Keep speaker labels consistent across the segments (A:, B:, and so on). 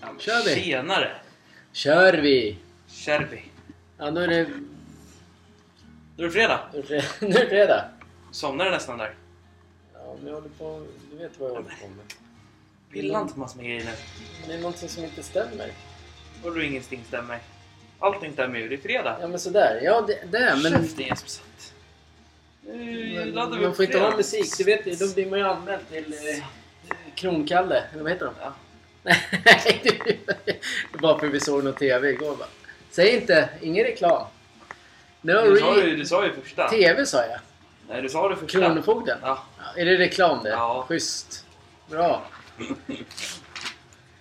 A: Ja, men
B: Kör vi.
A: Tjenare!
B: Kör vi!
A: Kärvi.
B: Ja, nu är det,
A: Nu är det fredag.
B: nu är det, nu är det fredag.
A: Somnade nästan där.
B: Ja, men jag håller på... Du vet vad jag håller på med.
A: Vill inte massor med grejer nu.
B: Det är någonting som inte stämmer.
A: Och du ingenting stämmer. Allting stämmer ju. Det är fredag.
B: Ja, men sådär. Ja, det, det är men...
A: Käften Jesper Satt. Nu
B: men
A: laddar vi
B: Man
A: upp
B: får inte
A: fredag.
B: ha musik, du vet det. Då blir man ju anmäld till eh, Kronkalle. Eller vad heter de?
A: Ja.
B: Nej, det är bara för vi såg någon TV igår bara. Säg inte, ingen reklam. No
A: Du sa
B: re-
A: ju, du sa ju första.
B: TV sa jag.
A: Nej, du sa det första.
B: Kronofogden.
A: Ja.
B: Ja, Är det reklam det?
A: Ja.
B: Schysst. Bra.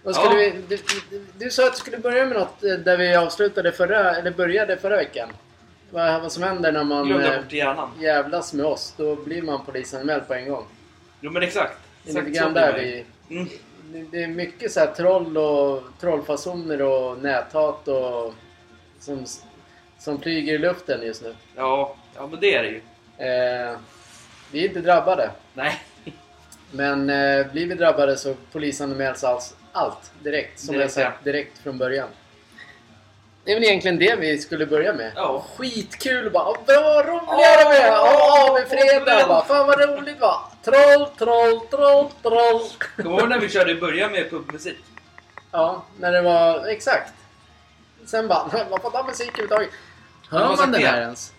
B: Vad skulle
A: Ja.
B: vi, du, du, du sa att du skulle börja med något eh, där vi avslutade förra, eller började förra veckan. Vad, vad som händer när man
A: Glömde
B: eh,
A: jag bort i hjärnan.
B: jävlas med oss. Då blir man polisanmäld på en gång.
A: Jo men exakt.
B: Det är
A: Exakt
B: lite
A: så
B: grann
A: blir
B: där
A: det.
B: vi...
A: Mm.
B: det- Det är mycket så här troll och trollfasoner och näthat och som, som flyger i luften just nu.
A: Ja, ja men det är det ju.
B: Eh, vi är inte drabbade.
A: Nej.
B: Men eh, blir vi drabbade så polisanmäls alls, allt direkt. Som
A: Direkt,
B: jag sagt, direkt från början. Det är väl egentligen det vi skulle börja med.
A: Ja.
B: Skitkul bara! "Åh, Bra, roligare med!
A: Åh,
B: Åh, med
A: återigen.
B: fredag bara! Fan vad roligt va! Troll, troll, troll, troll!
A: Kommer du ihåg när vi körde i början med pubmusik?
B: Ja, när det var... Exakt! Sen bara, man får ta musik överhuvudtaget.
A: Har
B: Hör
A: de
B: man
A: sagt
B: den
A: det?
B: här ens?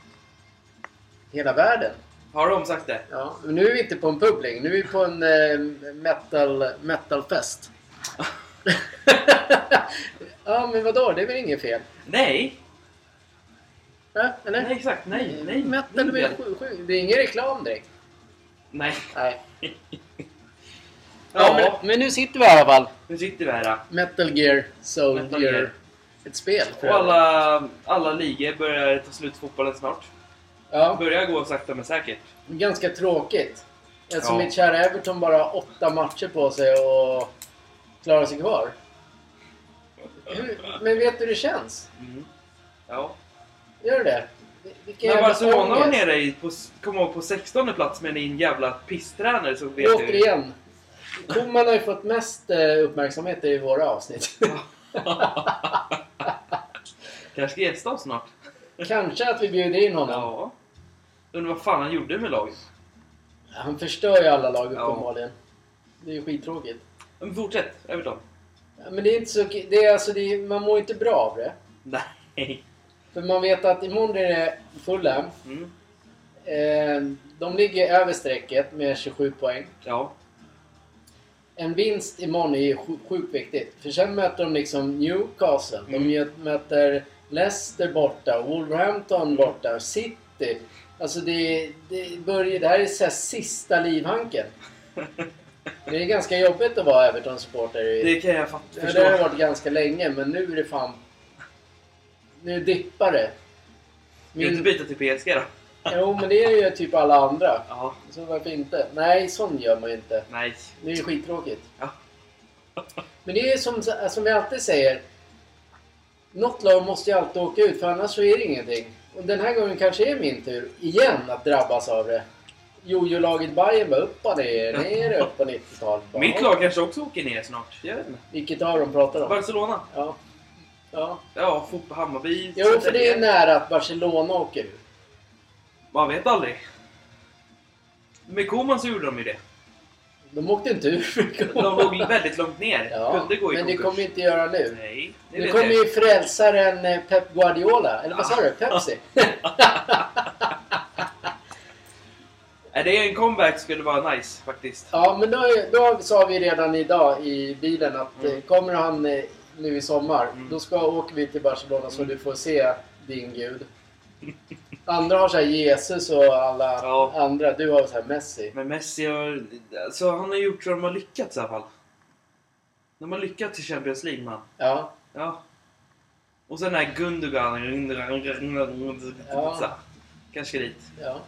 B: Hela världen.
A: Har de sagt det?
B: Ja, men nu är vi inte på en pub längre. Nu är vi på en eh, metal, metalfest. ja, men vadå? Det är väl inget fel?
A: Nej.
B: Va? Eller?
A: Nej exakt. Nej.
B: Mm,
A: Nej.
B: Metal är väl
A: Nej.
B: sju, sju. Det är ingen reklam direkt.
A: Nej.
B: Nej. Ja,
A: Ja,
B: Men, men nu sitter vi i alla fall.
A: nu sitter vi här.
B: Metal Gear, Soul
A: Metal
B: Gear.
A: Gear.
B: Ett spel. för
A: Och alla, alla ligor börjar ta slut fotbollen snart.
B: Ja,
A: Börjar gå sakta men säkert.
B: ganska tråkigt. Eftersom
A: Ja.
B: mitt kära Everton bara har åtta matcher på sig och klarar sig kvar. Hur, men vet du hur det känns?
A: Mm. Ja.
B: Gör du det? Vilken
A: När
B: jävla
A: Barcelona var
B: ångest.
A: nere i, på, kom ihåg, på 16 plats med din jävla pisstränare så vet du...
B: Återigen. Koman har ju fått mest eh, uppmärksamhet i våra avsnitt.
A: Kanske ska gästa oss snart.
B: Kanske att vi bjuder in honom.
A: Ja. Undrar vad fan han gjorde med laget.
B: Han förstör ju alla lag
A: Ja.
B: uppenbarligen. Det är ju skittråkigt.
A: Men fortsätt, Everton.
B: Ja, Men det är inte så... Det är alltså, det är, man mår inte bra av det.
A: Nej.
B: För man vet att imorgon är det Fulham.
A: Mm.
B: Eh, de ligger över strecket med 27 poäng.
A: Ja.
B: En vinst imorgon är ju sj- sjukt viktigt. För sen möter de liksom Newcastle. De
A: Mm.
B: mö- möter Leicester borta, Wolverhampton borta, City. Alltså det, det, börjar, det här är så här sista livhanken. Det är ganska jobbigt att vara Everton-supporter. i-
A: Det kan jag fatta.
B: Ja, det har det
A: Förstå.
B: varit ganska länge, men nu är det fan... Nu dippar det.
A: Ska du inte
B: Min,
A: byta till PSG då?
B: jo, men det är ju typ alla andra.
A: Ja.
B: Så varför inte? Nej, sån gör man ju inte.
A: Nej.
B: Det är ju skittråkigt.
A: Ja.
B: Men det är ju som, alltså, som vi alltid säger. Något lag måste ju alltid åka ut för annars så är det ingenting. Och den här gången kanske är min tur igen att drabbas av det. Jojo-laget Bayern bara upp och ner, ner, upp och 90-tal. Bara,
A: Mitt lag kanske också åker ner snart. Jag vet inte.
B: Vilket av dem pratar om?
A: Barcelona.
B: Ja. ja.
A: Ja, fotboll, Hammarby.
B: Jo, för det är
A: Södertälje.
B: nära att Barcelona åker ut.
A: Man vet aldrig. Med Koman så gjorde de ju det.
B: De åkte inte ur.
A: De låg väldigt långt ner.
B: Ja,
A: Kunde gå i
B: men det
A: konkurs.
B: kommer ju inte göra nu.
A: Nej, det
B: Nu
A: vet
B: kommer
A: jag. Ah.
B: ju frälsaren eh, Pep Guardiola. Eller vad sa du? Pepsi?
A: Nej, Äh, Det är en comeback skulle vara nice faktiskt.
B: Ja, men då, då sa vi redan idag i bilen att
A: Mm.
B: eh, kommer han eh, nu i sommar,
A: Mm.
B: då ska, åker vi till Barcelona så
A: Mm.
B: du får se din gud. Andra har så här Jesus och alla
A: Ja.
B: andra. Du har så här Messi.
A: Men Messi har... Alltså, han har gjort så de har lyckats i alla fall. De har lyckats i Champions League man.
B: Ja.
A: Ja. Och sen den här Gundogan.
B: Ja.
A: Kanske dit.
B: ja.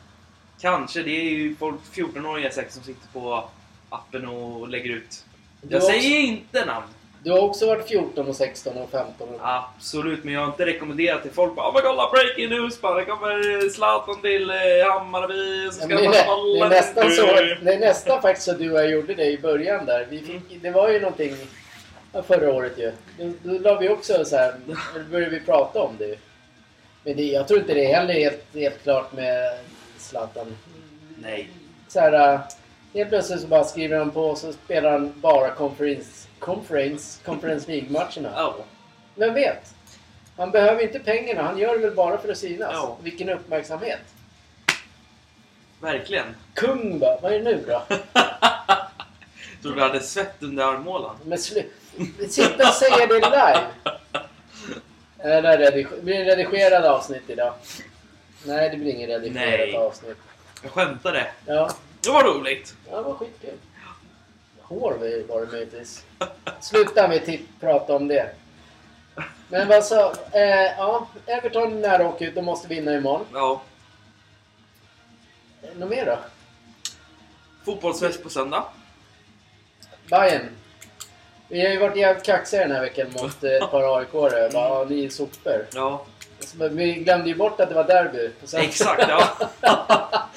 A: Kanske. Det är ju folk 14-åringar säkert som sitter på appen och lägger ut.
B: Du,
A: Jag
B: har
A: säger inte namn.
B: också, du har också varit 14 och 16 och 15 och
A: Absolut, men jag har inte rekommenderat till folk bara oh my god, alla breaking news bara, det kommer eh, Zlatan till eh, Hammarby så
B: Ja,
A: ska
B: men det, är,
A: man
B: nä- det, är
A: kolla
B: nästan så,
A: lite." Mm.
B: det är nästan faktiskt så du och jag gjorde det i början där. Vi fick, Det var ju någonting Ja, förra året ju. Då, då la vi också så här, då började vi prata om det ju. Men det, jag tror inte det är heller helt, helt klart med Zlatan.
A: Nej.
B: Så här, äh, helt plötsligt så bara skriver han på och så spelar han bara Conference, conference, conference League-matcherna.
A: Ja.
B: Vem vet? Han behöver inte pengarna, han gör det väl bara för att synas.
A: Ja.
B: Vilken uppmärksamhet.
A: Verkligen.
B: Kung bara, vad är det nu då?
A: Tror du hade svett under armhålan?
B: Men slu- Sitta och säga det live! Eller redig- blir det redigerad avsnitt idag? Nej, det blir inget redigerat
A: Nej.
B: avsnitt.
A: Jag skämtade.
B: Ja,
A: Det var roligt.
B: ja det var skitkul. Hår var det möjligtvis. Sluta med att prata om det. Men vad sa... Eh, ja, Everton är nära att åka ut. De måste vinna imorgon.
A: Ja.
B: Eh, Något mer då?
A: Fotbollsfest på söndag.
B: Bayern. Vi har ju varit jävligt kaxiga den här veckan mot eh, ett par AIK-are. Bara, ja, ni är sopor.
A: Ja.
B: Så, men Vi glömde ju bort att det var derby. på söndag.
A: Exakt, ja.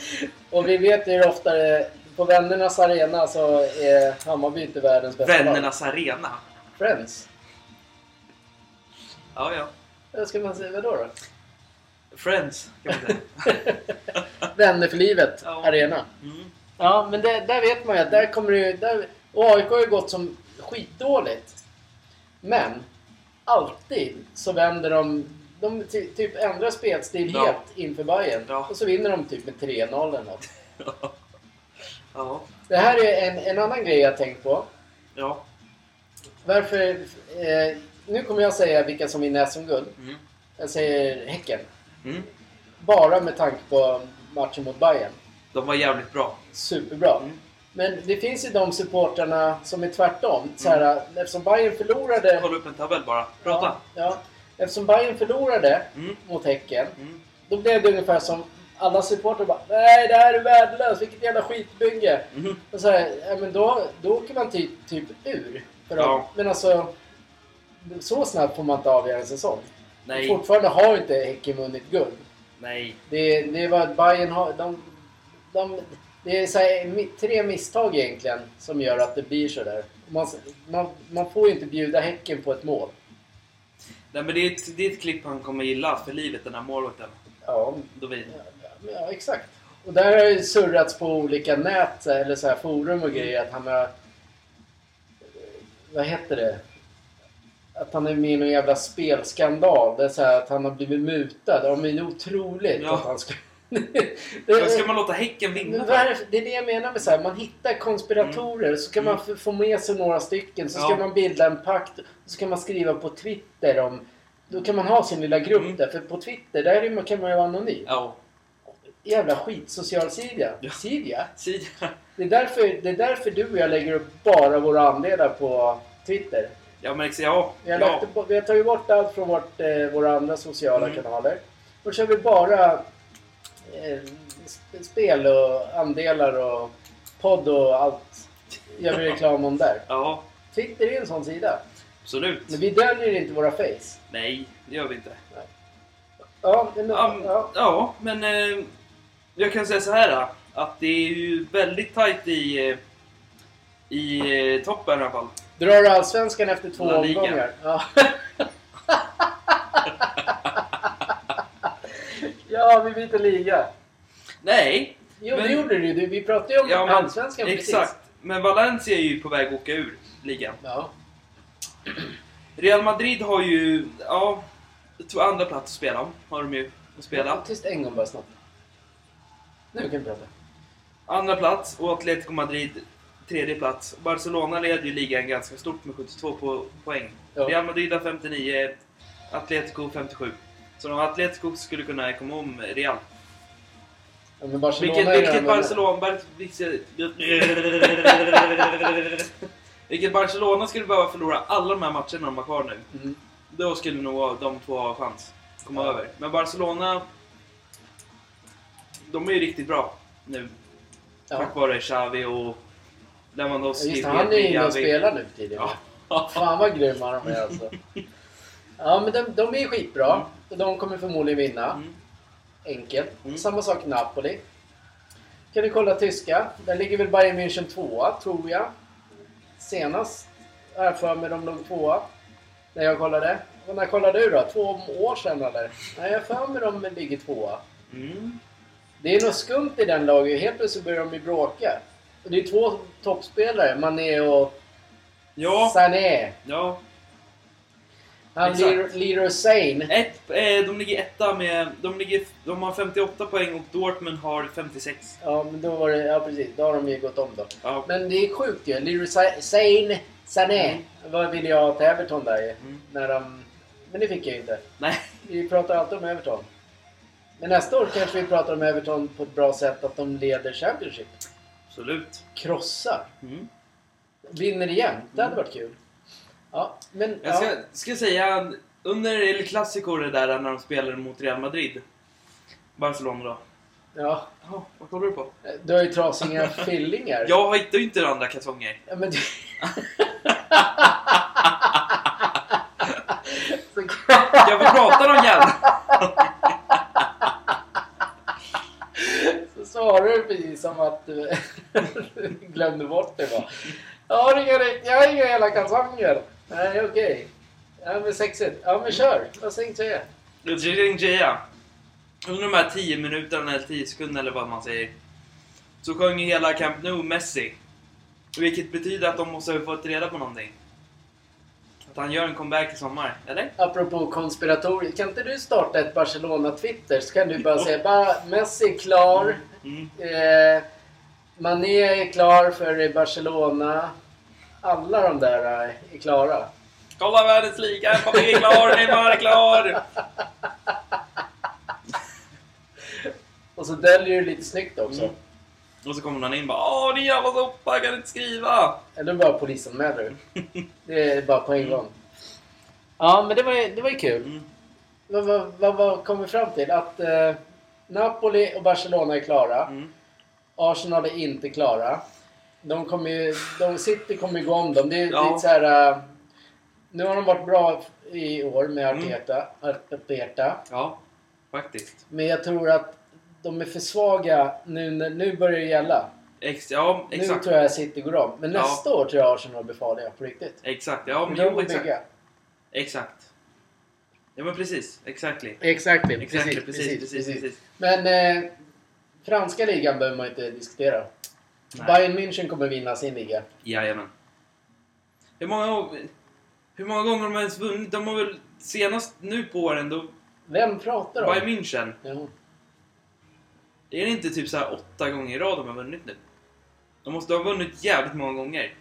B: Och vi vet ju hur ofta det, på vännernas arena så är Hammarby inte världens bästa lag.
A: Vännernas arena.
B: Friends.
A: Ja, ja.
B: Vad ska man säga? Vadå då?
A: Friends, kan man säga.
B: Vänner för livet
A: Ja.
B: arena.
A: Mm.
B: Ja, men det, där vet man ju att där kommer det ju... Där, och AIK har ju gått som skitdåligt. Men alltid så vänder de... De ty, typ ändrar spelstil
A: Ja.
B: helt inför Bayern
A: Ja.
B: Och så vinner de typ med 3-0 eller något.
A: Ja.
B: Det här är en, en annan grej jag tänkt på.
A: Ja.
B: Varför... Eh, nu kommer jag säga vilka som vinner SM-guld.
A: Mm.
B: Jag säger Häcken.
A: Mm.
B: Bara med tanke på matchen mot Bayern.
A: De var jävligt bra.
B: Superbra.
A: Mm.
B: Men det finns ju de supportrarna som är tvärtom. Så här, Eftersom Bayern förlorade...
A: Kolla upp en tabell bara. Mm. Prata.
B: Ja, ja. Eftersom Bayern förlorade
A: Mm.
B: mot Häcken,
A: Mm.
B: då blev det ungefär som alla supportrar bara Nej, det här är värdelöst, vilket jävla skitbygge.
A: Mm.
B: Och så här, ja, men då, då åker man typ, typ ur. För dem.
A: Ja.
B: Men alltså, så snabbt får man inte avgöra en säsong.
A: Nej.
B: Fortfarande har inte Häcken vunnit guld.
A: Nej.
B: Det, det var att Bayern har... De, de, det är så här, mi- tre misstag egentligen som gör att det blir så där. Man, man, man får ju inte bjuda Häcken på ett mål.
A: Nej, men det är, ett, det är ett klipp han kommer gilla för livet, den här målvakten.
B: Ja,
A: Dovin.
B: ja exakt. Och där har ju surrats på olika nät eller så här forum och grejer att han har... Vad heter det? Att han är med i någon jävla spelskandal. Det är så här att han har blivit mutad. Ja, men det är otroligt
A: Ja.
B: att han ska...
A: Då ska man låta Häcken
B: Men
A: vinna? för?
B: varför, det är det jag menar med så här, man hittar konspiratorer så kan man f- få med sig några stycken så ska
A: Mm. Ja.
B: man bilda en pakt så kan man skriva på Twitter om då kan man ha sin lilla grupp
A: Mm.
B: där, för på Twitter där är man, kan man ju vara anonym.
A: Ja.
B: Jävla skitsocial Silja. Silja?
A: Sia.
B: Det är, därför, det är därför du och jag lägger upp bara våra andelar på Twitter.
A: Ja, men exa- ja.
B: Vi har,
A: ja.
B: lagt, vi har tagit bort allt från vårt, eh, våra andra sociala
A: Mm.
B: kanaler. Och kör vi bara eh, sp- spel och andelar och podd och allt. Gör vi reklam om där.
A: Ja,
B: Twitter är en sån sida.
A: absolut.
B: Men vi döljer inte våra face.
A: Nej, det gör vi inte.
B: Ja, men,
A: Ja, men-
B: ja.
A: ja, men eh, jag kan säga så här eh, att det är ju väldigt tajt i, eh, i eh, toppen i alla fall.
B: Drar du allsvenskan efter två
A: La Liga.
B: omgångar? Ja. ja, vi byter liga.
A: Nej,
B: Jo,
A: Men-
B: det gjorde du ju. Du- Vi pratade ju om
A: Ja, men-
B: allsvenskan
A: exakt.
B: precis.
A: Men Valencia är ju på väg att åka ur ligan.
B: Ja.
A: Real Madrid har ju, ja, två andra plats att spela om. Har de ju att spela.
B: Tyst en gång bara snabbt. Nu kan vi prata.
A: Andra plats och Atletico Madrid tredje plats. Barcelona leder ju ligan ganska stort med 72 po poäng.
B: Ja.
A: Real Madrid har 59, Atletico 57. Så om Atletico skulle kunna komma om Real.
B: Ja, men Barcelona
A: Vilket,
B: är ju
A: vilket
B: den här-
A: Barcelona... Bar- vilket- Vilket Barcelona skulle behöva förlora alla de här matcherna de har kvar nu.
B: Mm.
A: Då skulle nog de två ha chans att komma
B: Ja.
A: över. Men Barcelona... De är ju riktigt bra nu.
B: Ja.
A: Tack vare Xavi och
B: Ja,
A: Lewandowski.
B: just det, han är ju inne och spelar nu tidigare.
A: Ja.
B: Fan vad grymma de är alltså. Ja, men de, de är skitbra. Och de kommer förmodligen vinna.
A: Mm.
B: Enkelt.
A: Mm.
B: Samma sak Napoli. Kan du kolla tyska? Där ligger väl Bayern München tvåa, tror jag. Senast. Ja, har jag för mig de låg tvåa. När jag kollade. Och när kollade du då? Två år sedan eller? Nej, jag har för mig de ligger tvåa.
A: Mm.
B: Det är något skumt i den lagen. Helt plötsligt börjar de ju bråka. Och det är två toppspelare, Mané och
A: Ja,
B: Sané.
A: ja.
B: Han
A: Exakt.
B: Leroy- Leroy Sane.
A: Ett, eh, de ligger etta med... De, ligger, de har 58 poäng och Dortmund har 56.
B: Ja, men då var det... Ja, precis. Då har de ju gått om då.
A: Ja.
B: Men det är sjukt ju. Leroy Sa- Sane, Sané. Vad ville jag till Everton där ju.
A: Mm.
B: När de... Men det fick jag ju inte.
A: Nej.
B: Vi pratar alltid om Everton. Men nästa år kanske vi pratar om Everton på ett bra sätt. Att de leder Championship.
A: Absolut.
B: Krossar.
A: Mm.
B: Vinner igen. Det hade varit kul. Ja, men...
A: Jag ska,
B: ja.
A: ska säga, under El Clasico det där när de spelade mot Real Madrid. Barcelona då.
B: ja.
A: Jaha, vad kollar du på?
B: Du har ju trasiga fillingar.
A: Jag hittar ju inte andra kartonger.
B: Ja, Men du... Så-
A: Jag vill prata om jävla...
B: Så svarar du precis som att du glömde bort det bara. Jag har inga, jag har inga jävla kalsonger. Nej, okej. Ja, men sexigt. Ja, men kör. Vad tänkte jag?
A: Jing Jia. Under de här 10 minuterna eller 10 sekunderna eller vad man säger. Så sjöng ju hela Camp Nou Messi. Vilket betyder att de måste ha fått reda på någonting. Att han gör en comeback i sommar, eller?
B: Apropå konspiratorer. Kan inte du starta ett Barcelona-Twitter så kan du bara säga bara Messi är klar.
A: Mm.
B: Eh, Mané är klar för Barcelona. Alla de där eh, är klara.
A: Kolla världens liga, Mbappé är klar, Neymar är klar!
B: Och så döljer du lite snyggt också.
A: Mm. Och så kommer någon in och bara Åh, din jävla soppa, kan inte skriva?
B: Eller bara polisanmäler du. Det är bara på en gång. Ja, men det var ju, det var ju kul.
A: Mm.
B: Vad, vad, vad, vad kom vi fram till? Att eh, Napoli och Barcelona är klara.
A: Mm.
B: Arsenal är inte klara. De kommer ju... De, City kommer ju gå om dem. Det är
A: Ja.
B: lite så här... eh, nu har de varit bra i år med
A: Mm.
B: Arteta. Arteta.
A: Ja, faktiskt.
B: Men jag tror att de är för svaga nu när... Nu börjar det gälla.
A: Ex ja,
B: Nu
A: exakt.
B: tror jag City går om. Men
A: Ja.
B: nästa år tror jag Arsenal blir farliga på riktigt.
A: Exakt, ja men
B: de
A: jo,
B: går
A: exakt.
B: bygga.
A: Exakt. Ja men precis, exactly.
B: Exakt,
A: Exactly, precis, precis, precis.
B: Men eh, franska ligan behöver man inte diskutera.
A: Nej.
B: Bayern München kommer vinna sin liga.
A: Jajamän. Hur många, hur många gånger har de ens vunnit? De har väl senast nu på åren då,
B: Vem pratar om?
A: Bayern München.
B: Ja.
A: Är det inte typ så här åtta gånger i rad de har vunnit nu? De måste ha vunnit jävligt många gånger.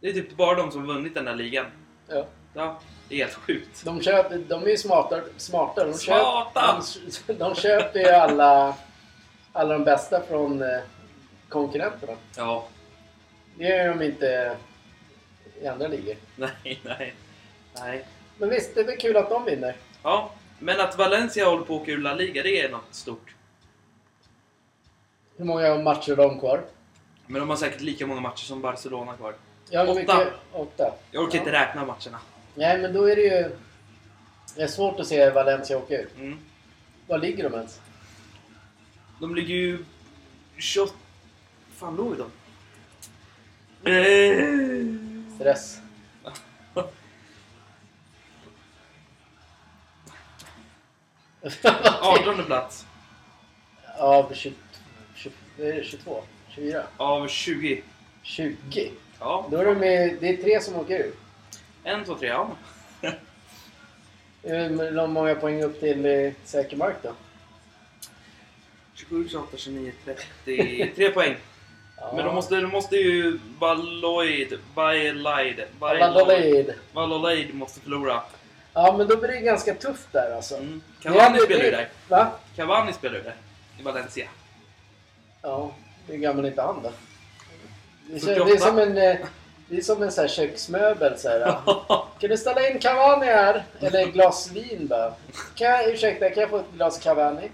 A: Det är typ bara de som har vunnit den här ligan.
B: Ja.
A: Ja, det är helt sjukt.
B: De, köper, de är ju smarta. smarta. De,
A: Smarta!
B: Köper, de, de köper ju alla, alla de bästa från eh, konkurrenterna.
A: Ja,
B: Det gör de inte i andra ligor.
A: nej, nej. Nej.
B: Men visst, det är väl kul att de vinner.
A: Ja, men att Valencia håller på att åka ur La Liga, det är något stort.
B: Hur många matcher har de kvar?
A: Men de har säkert lika många matcher som Barcelona kvar.
B: Ja, hur
A: Åtta.
B: mycket- Åtta.
A: Jag orkar
B: Ja.
A: inte räkna matcherna.
B: Nej, men då är det ju... Det är svårt att se Valencia åka ur.
A: Mm.
B: Var ligger de ens?
A: De ligger ju... 28... fan låg de? Eh,
B: Stress. ja,
A: 18 plats.
B: av 20, 20, vad är det, 22? 24?
A: Av 20.
B: 20?
A: Ja.
B: Då är de med, det är tre som åker ur.
A: 1, 2, 3, ja.
B: Det är väl De många poäng upp till eh, säker mark då.
A: 27, 28, 29, 30. 3 poäng.
B: Ja.
A: Men de måste, de måste ju... Valloid... Valloid...
B: Valladolid.
A: Valloid måste förlora.
B: Ja, men då blir det ganska tufft där alltså.
A: Mm.
B: Det
A: Cavani
B: hade-
A: spelar ju där.
B: Va?
A: Cavani spelar ju där. I Valencia.
B: Ja, hur gammal är inte han då? Det är, så, det är
A: 48.
B: som en, eh, det är som en så här köksmöbel så här. ja. Kan du ställa in Cavani här? Eller ett glas vin bara. Kan jag, ursäkta, kan jag få ett glas Cavani?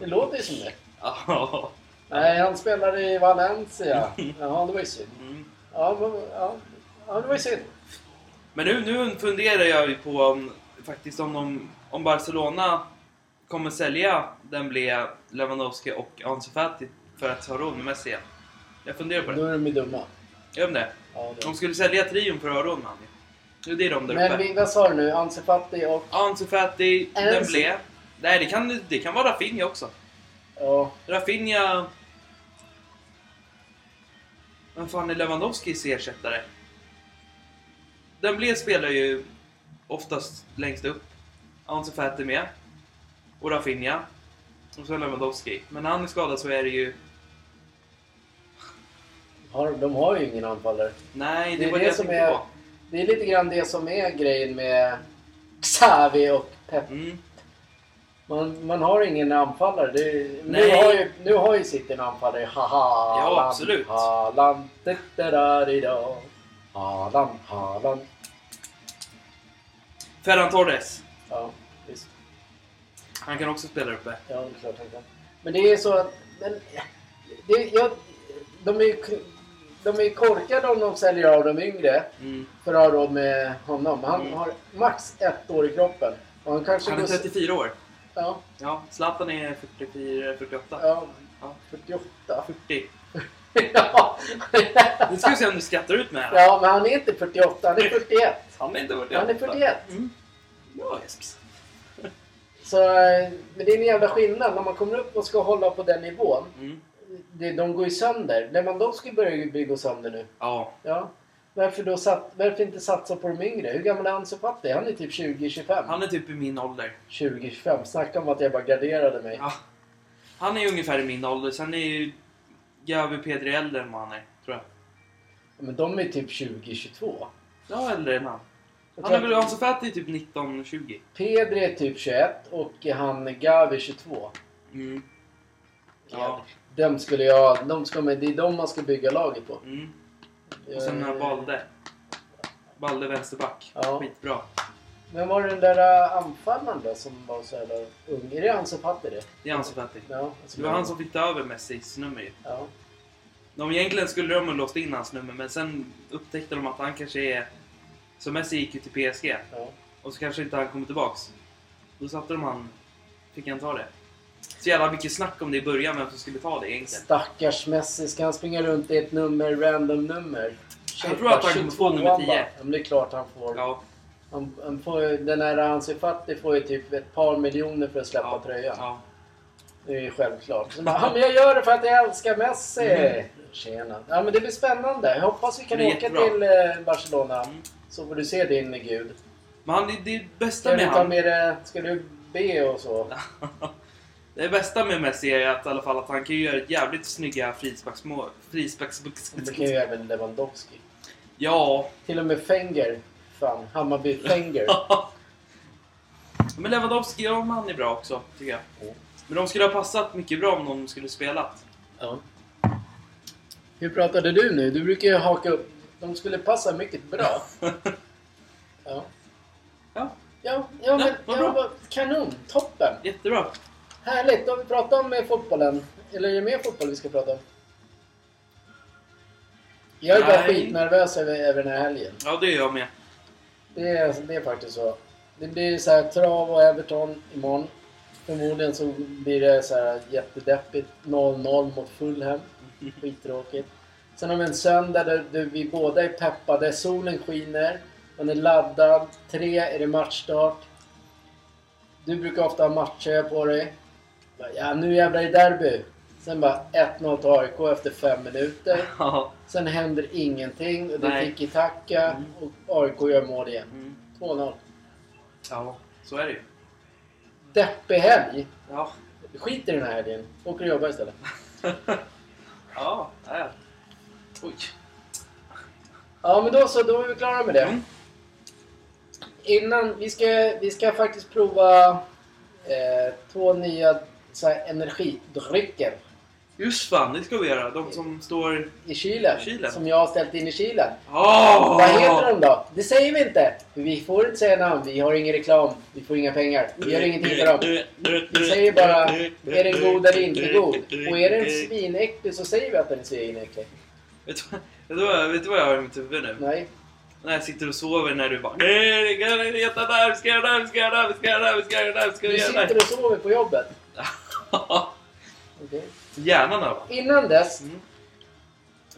B: Det låter ju som det.
A: Ja.
B: Nej, han spelar i Valencia. Ja, det var ju synd.
A: Mm.
B: Ja, men, ja, ja det var ju synd.
A: Men nu, nu funderar jag ju på om, faktiskt om, de, om Barcelona kommer sälja Dembélé, Lewandowski och Ansu Fati för att ha råd med Messi igen. Jag funderar på
B: Då
A: det.
B: är de ju dumma.
A: Gör de det?
B: Ja, det-
A: De skulle sälja trion för öron, man. Det är det de där
B: Men
A: uppe.
B: vi, vad sa du nu? Ansu Fati och...
A: Ansu Fati,
B: Ansu.
A: Dembélé. Nej, det kan, det kan vara Rafinha också.
B: Ja,
A: Rafinha... Vem fan är Lewandowskis ersättare? Dembélé spelar ju oftast längst upp. Ansu Fati med. Och Rafinha. Och så Lewandowski. Men när han är skadad så är det ju...
B: har, de har ju ingen anfallare.
A: Nej, det,
B: Det är
A: var det,
B: det
A: jag
B: som
A: tänkte
B: är-
A: på.
B: Det är lite grann det som är grejen med Xavi och Pep.
A: Mm.
B: Man, man har ingen anfallare. Det, är- nu,
A: Nej.
B: har ju, nu har ju City en anfallare. Haha,
A: Ja, absolut.
B: Haaland, da-da-da-di-da. Haaland, Haaland.
A: Ferran Torres.
B: Ja, visst.
A: Han kan också spela där uppe.
B: Ja, det är klart han kan. Men det är så att... Men, det, jag, de är ju k- de är ju korkade om de säljer av de yngre
A: Mm.
B: för att ha råd med honom. Han
A: Mm.
B: har max ett år i kroppen. Och han kanske
A: Han är
B: går-
A: 34 år.
B: Ja,
A: Ja, Zlatan är 44, 48.
B: ja,
A: Ja.
B: 48.
A: 40.
B: ja.
A: Nu ska vi se om du skrattar ut med det här.
B: ja, men han är inte 48, han är 41.
A: Han är inte 48.
B: Han är 41.
A: Mm. Bra Eskis.
B: Så, eh, men det är en jävla skillnad när man kommer upp och ska hålla på den nivån.
A: Mm.
B: Det, de går ju sönder. Lewandowski börjar ju bli- gå sönder nu.
A: Ja.
B: Ja. Varför, då sat, varför inte satsa på de yngre? Hur gammal är Ansu Fati? Han är typ 20-25.
A: Han är typ i min ålder.
B: 20-25. Snacka om att jag bara garderade mig.
A: Ja. Han är ungefär i min ålder. Sen är ju Gavi Pedri äldre än vad han är, tror jag.
B: Men de är typ 20-22.
A: Ja, äldre än han.
B: Jag
A: Han
B: tror
A: är väl
B: att
A: Ansu Fati är typ 19-20.
B: Pedri är typ 21 och han Gavi 22.
A: Mm.
B: Ja.
A: Ja.
B: Dem skulle jag... De ska, men det är de man ska bygga laget på.
A: Mm. Och sen den här
B: Eh,
A: Balde. Balde vänsterback.
B: Ja.
A: Skitbra.
B: Men var det den där äh, anfallaren då som var så jävla ung? Är det han som fattar det?
A: Det är Ansu Fati.
B: Ja,
A: Det var han som fick ta över Messis nummer ju.
B: Ja.
A: De egentligen skulle de ha låst in hans nummer, men sen upptäckte de att han kanske är... Så Messi gick ju till PSG.
B: ja.
A: Och så kanske inte han kommer tillbaks. Då satte de han... Fick han ta det. Så jävla mycket snack om det i början, vem som skulle ta det egentligen.
B: Stackars Messi, ska han springa runt i ett nummer, random nummer?
A: Jag tror att han kommer få nummer 10.
B: Ja, men det är klart han får.
A: Ja,
B: Han, han får ju- den här Ansu Fati får ju typ ett par miljoner för att släppa
A: ja,
B: tröjan.
A: ja.
B: Det är ju självklart. Så bara, ja, men jag gör det för att jag älskar Messi! Tjena. Ja, men det blir spännande. Jag hoppas vi kan
A: Mm. Det blir
B: åka
A: jättebra.
B: till eh, Barcelona.
A: Mm.
B: Så får du se din gud.
A: Men han, det, det bästa
B: Ska
A: med
B: du ta
A: han...
B: med det, ska du be och så?
A: Det bästa med Messi är att, i alla fall att han kan ju göra jävligt snygga frisparksmål. Frisparks...
B: Det kan ju även Lewandowski.
A: Ja.
B: Till och med Fenger. Fan, Hammarby Fenger.
A: Men Lewandowski, ja, men han är bra också, tycker jag.
B: Ja.
A: Men de skulle ha passat mycket bra om de skulle spelat.
B: ja. Hur pratade du nu? Du brukar ju haka upp. De skulle passa mycket bra. Ja.
A: Ja,
B: Ja, ja men
A: vad
B: ja,
A: bra.
B: vad- kanon. Toppen.
A: jättebra.
B: Härligt. Då har vi pratat om eh, fotbollen. Eller är det mer fotboll vi ska prata om? Jag är bara
A: Nej.
B: skitnervös över, över den här helgen.
A: Ja, det är jag med.
B: Det är, det är faktiskt så. Det blir så här trav och Everton imorgon. Förmodligen så blir det så här jättedeppigt. 0-0 mot Fulham. Skittråkigt. Sen har vi en söndag där där vi båda är peppade. Solen skiner. Man är laddad. Tre är det matchstart. Du brukar ofta ha matcher på dig. Bara, Ja, nu jävlar är det derby. Sen bara 1-0 till AIK efter fem minuter.
A: Ja.
B: Sen händer ingenting. Och det är
A: Nej.
B: tiki-taka. Och AIK gör mål igen.
A: Mm.
B: 2-0.
A: Ja, så är det ju.
B: Deppig helg.
A: Ja.
B: Skit i den här helgen. Åker och jobbar istället.
A: ja, där. Oj.
B: Ja, men då så. Då är vi klara med det.
A: Mm.
B: Innan, vi ska, vi ska faktiskt prova eh, två nya så här, energidrycker
A: Just fan, det ska vi göra. De som står...
B: i kylen,
A: I kylen?
B: Som jag har ställt in i kylen.
A: Oh!
B: Vad heter de då? Det säger vi inte! För vi får inte säga namn. Vi har ingen reklam. Vi får inga pengar. Vi gör ingenting för dem. Vi säger bara, är den god eller inte god? Och är den svinäcklig så säger vi att den är svinäcklig.
A: Vet du, vet, du vad, vet du vad jag har i mitt huvud nu?
B: Nej.
A: När jag sitter och sover när du bara... Nej, det kan jag inte heta där, vi ska göra det här, vi ska göra det här, vi ska göra det här, vi ska göra det här, vi ska
B: Du
A: göra det här.
B: sitter och sover på jobbet.
A: Ja.
B: Okej.
A: Hjärnan har va?
B: Innan dess
A: Mm.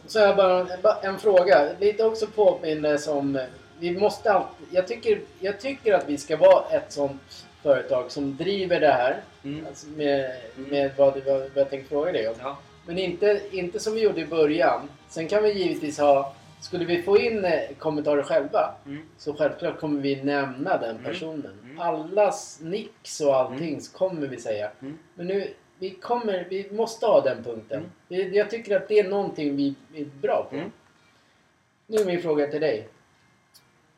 B: Så har jag bara en, bara en fråga. Lite också påminnelse om... eh, Vi måste alltid, jag, tycker, jag tycker att vi ska vara ett sånt företag som driver det här.
A: Mm.
B: Alltså med,
A: Mm.
B: med vad, du, vad jag tänkte fråga dig om.
A: Ja.
B: Men inte, inte som vi gjorde i början. Sen kan vi givetvis ha... Skulle vi få in eh, kommentarer själva
A: Mm.
B: så självklart kommer vi nämna den
A: Mm.
B: personen.
A: Mm.
B: Allas nicks och allting så kommer vi säga.
A: Mm.
B: Men nu, vi kommer, vi måste ha den punkten.
A: Mm.
B: Vi- Jag tycker att det är någonting vi är bra på.
A: Mm.
B: Nu är min fråga till dig.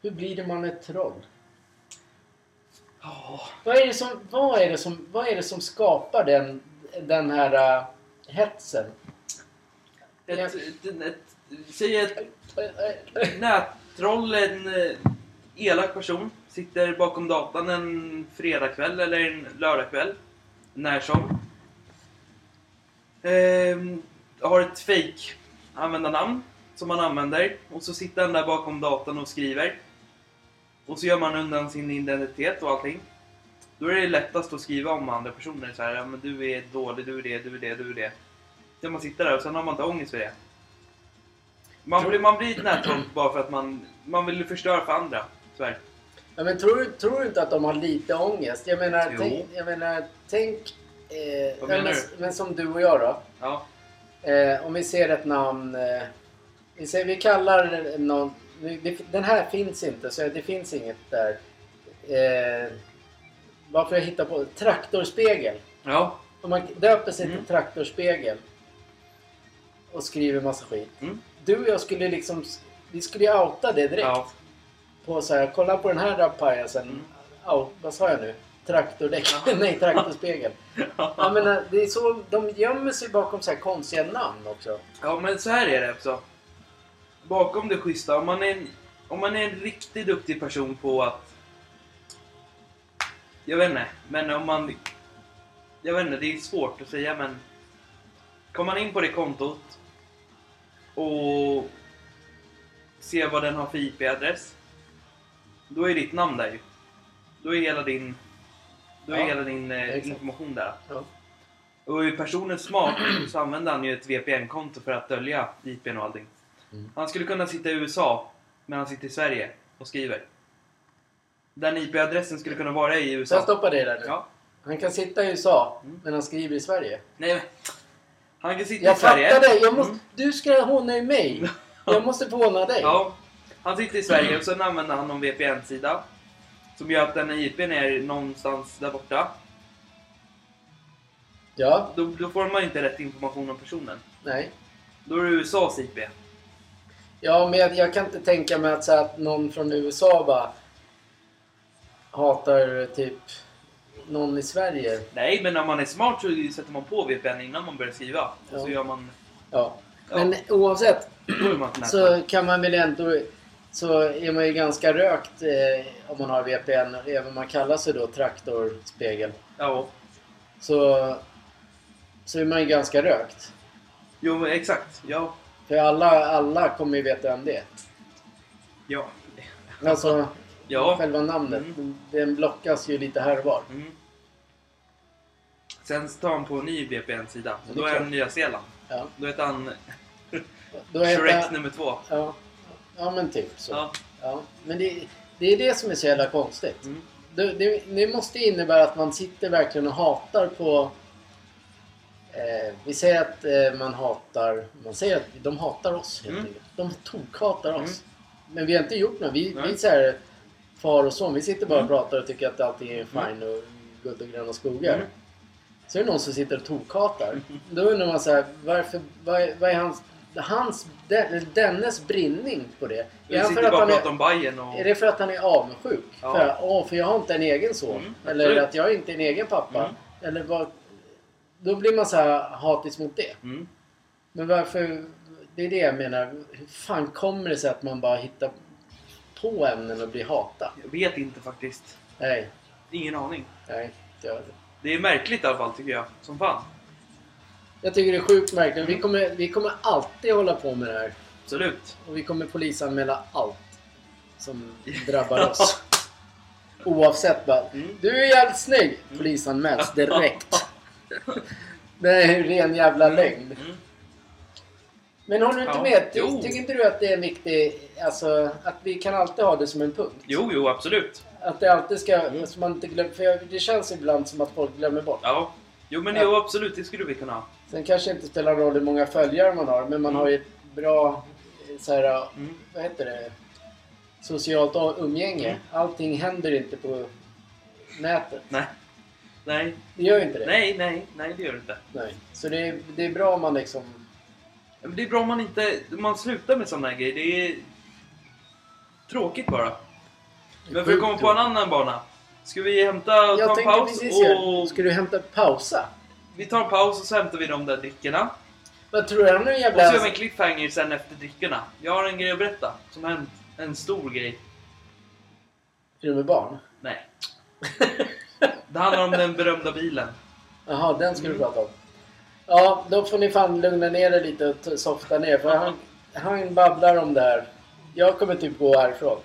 B: Hur blir man ett troll?
A: Ja.
B: Vad är det som, vad är det som, vad är det som skapar den, den här äh, hetsen?
A: Ett,
B: Ja.
A: ett, ett, säg ett
B: Äh, äh,
A: nättroll, en eh, elak person, sitter bakom datan en fredagkväll eller en lördagkväll. När som. Ehm, har ett fake användarnamn som man använder och så sitter han där bakom datan och skriver. Och så gör man undan sin identitet och allting. Då är det lättast att skriva om andra personer så här, ja, men du är dålig, du är det, du är det, du är det. Så man sitter där och sen har man inte ångest för det. Man blir, man blir ett nättroll bara för att man, man vill förstöra för andra. Så här.
B: Ja, men tror, du- tror du inte att de har lite ångest? Jag menar,
A: Jo.
B: tänk... Jag menar, tänk eh,
A: Vad
B: ja,
A: menar
B: men,
A: du?
B: men som du och jag då.
A: Ja.
B: Eh, om vi ser ett namn... Eh, vi, säger, vi kallar någon... vi- Det, den här finns inte, så det finns inget där. Eh, varför jag hittar på... Traktorspegel.
A: Ja.
B: Om man döper sig
A: Mm.
B: till traktorspegel och skriver massa skit.
A: Mm.
B: Du och jag skulle liksom... Vi skulle ju outa det direkt
A: Ja.
B: på så här, kolla på den här pajasen.
A: Mm.
B: Au, vad sa jag nu? Traktordäck?
A: Ja.
B: Nej, traktorspegel. jag menar, det är så, de gömmer sig bakom så här konstiga namn också.
A: Ja, men så här är det också. Bakom det schyssta, om man är en, om man är en riktigt duktig person på att... Jag vet inte, men om man... Jag vet inte, det är svårt att säga men... Kommer man in på det kontot och ser vad den har för IP-adress. Då är ditt namn där ju. Då är hela din, då är
B: Ja,
A: hela din eh,
B: exakt.
A: information där.
B: Ja.
A: Och är personen smart så använder han ju ett VPN-konto för att dölja IPn och allting.
B: Mm.
A: Han skulle kunna sitta i USA, men han sitter i Sverige och skriver. Den IP-adressen skulle kunna vara i
B: Så jag
A: USA.
B: stoppar dig där nu.
A: Ja.
B: Han kan sitta i USA,
A: Mm.
B: men han skriver i Sverige.
A: Nej, men. Han kan sitta i
B: Jag
A: Sverige.
B: fattar dig! Jag måste,
A: Mm.
B: Du ska håna ju mig! Jag måste få håna dig!
A: Ja. Han sitter i Sverige och sen använder han någon VPN-sida. Som gör att den här IPn är någonstans där borta.
B: Ja,
A: Då, då får man inte rätt information om personen.
B: nej.
A: Då är det USAs IP.
B: Ja, men jag, jag kan inte tänka mig att, så här, att någon från USA bara hatar typ någon i Sverige.
A: Nej, men när man är smart så sätter man på VPN innan man börjar skriva. Och så
B: Ja.
A: gör man...
B: Ja.
A: Ja.
B: Men oavsett,
A: Då är man ett nätverk.
B: så kan man väl ändå så är man ju ganska rökt eh, om man har VPN, även om man kallar sig då traktorspegel.
A: Ja,
B: Så, så är man ju ganska rökt.
A: jo men exakt. Ja.
B: För alla, alla kommer ju veta vem det är.
A: Ja.
B: Alltså,
A: Ja.
B: själva namnet. Den blockas ju lite här och var.
A: Mm. Sen tar han på en ny VPN-sida.
B: Ja, det
A: Då
B: är
A: är
B: klart.
A: han i Nya Zeeland.
B: Ja.
A: Då heter han
B: Då
A: Shrek
B: heter,
A: nummer två.
B: ja, ja, men typ så. Ja.
A: Ja.
B: Men det, det är det som är så jävla konstigt.
A: Mm.
B: Det, det, det måste innebära att man sitter verkligen och hatar på... Eh, vi säger att eh, man hatar... Man säger att de hatar oss helt
A: Mm.
B: enkelt. De tokhatar oss. Men vi har inte gjort något. Vi, vi
A: Nej.
B: är så här, far och son. Vi sitter bara och
A: Mm.
B: pratar och tycker att allting är fine och guld och gröna skogar.
A: Mm.
B: Så är det någon som sitter och tokhatar. Då undrar man så här, varför... Vad, är- vad är hans... Hans... Den, dennes brinning på det?
A: Vi
B: han för
A: sitter
B: att
A: bara och
B: han är-
A: pratar om Bajen och...
B: är det för att han är avundsjuk?
A: Ja.
B: För, åh, för jag har inte en egen son.
A: Mm,
B: Eller
A: absolut.
B: att jag inte är en egen pappa.
A: Mm.
B: Eller vad... Då blir man så här hatisk mot det.
A: Mm.
B: Men varför... Det är det jag menar. Hur fan kommer det sig att man bara hittar på ämnen och blir hatad?
A: Jag vet inte faktiskt.
B: Nej,
A: Ingen aning.
B: nej. Jag,
A: Det är märkligt i alla fall tycker jag. Som fan.
B: jag tycker det är sjukt märkligt. Vi kommer, vi kommer alltid hålla på med det här.
A: Absolut.
B: Och vi kommer polisanmäla allt som drabbar oss. Oavsett bara.
A: Mm.
B: Du är jävligt snygg! Polisanmäls direkt. Det är ju ren jävla lögn.
A: Mm.
B: Men håller du inte
A: Ja.
B: med? Ty,
A: Jo.
B: tycker inte du att det är en viktig... Alltså, att vi kan alltid ha det som en punkt?
A: Jo, Mm. jo, absolut.
B: Att det alltid ska... Så man inte glömmer, för jag, det känns ibland som att folk glömmer bort.
A: Ja. Jo, men
B: Ja.
A: jo, absolut. Det skulle vi kunna ha.
B: Sen kanske inte spelar roll hur många följare man har, men man
A: Mm.
B: har ju ett bra... eh, Så här,
A: Mm.
B: vad heter det? Socialt a- umgänge.
A: Mm.
B: Allting händer inte på nätet.
A: Nej. Nej,
B: Det gör ju inte det.
A: nej, nej, nej, det gör det inte.
B: Nej. Så det är, det är bra om man liksom...
A: Men det är bra om man inte man slutar med sådana här grejer. Det är tråkigt bara. Men för att komma på en annan bana. Ska vi hämta och
B: Jag
A: ta en
B: tänkte
A: paus?
B: precis göra
A: Och
B: Ska du hämta pausa?
A: vi tar en paus och så hämtar vi de där drickorna.
B: Vad tror du? Han är en
A: Och så gör
B: jävla...
A: vi en cliffhanger sen efter drickorna. Jag har en grej att berätta. Som hänt. En stor grej.
B: Är du med barn?
A: Nej. Det handlar om den berömda bilen.
B: Jaha, den ska du
A: Mm.
B: prata om. Ja, då får ni fan lugna ner er lite och t- softa ner. För han, han babblar om det här. Jag kommer typ gå härifrån.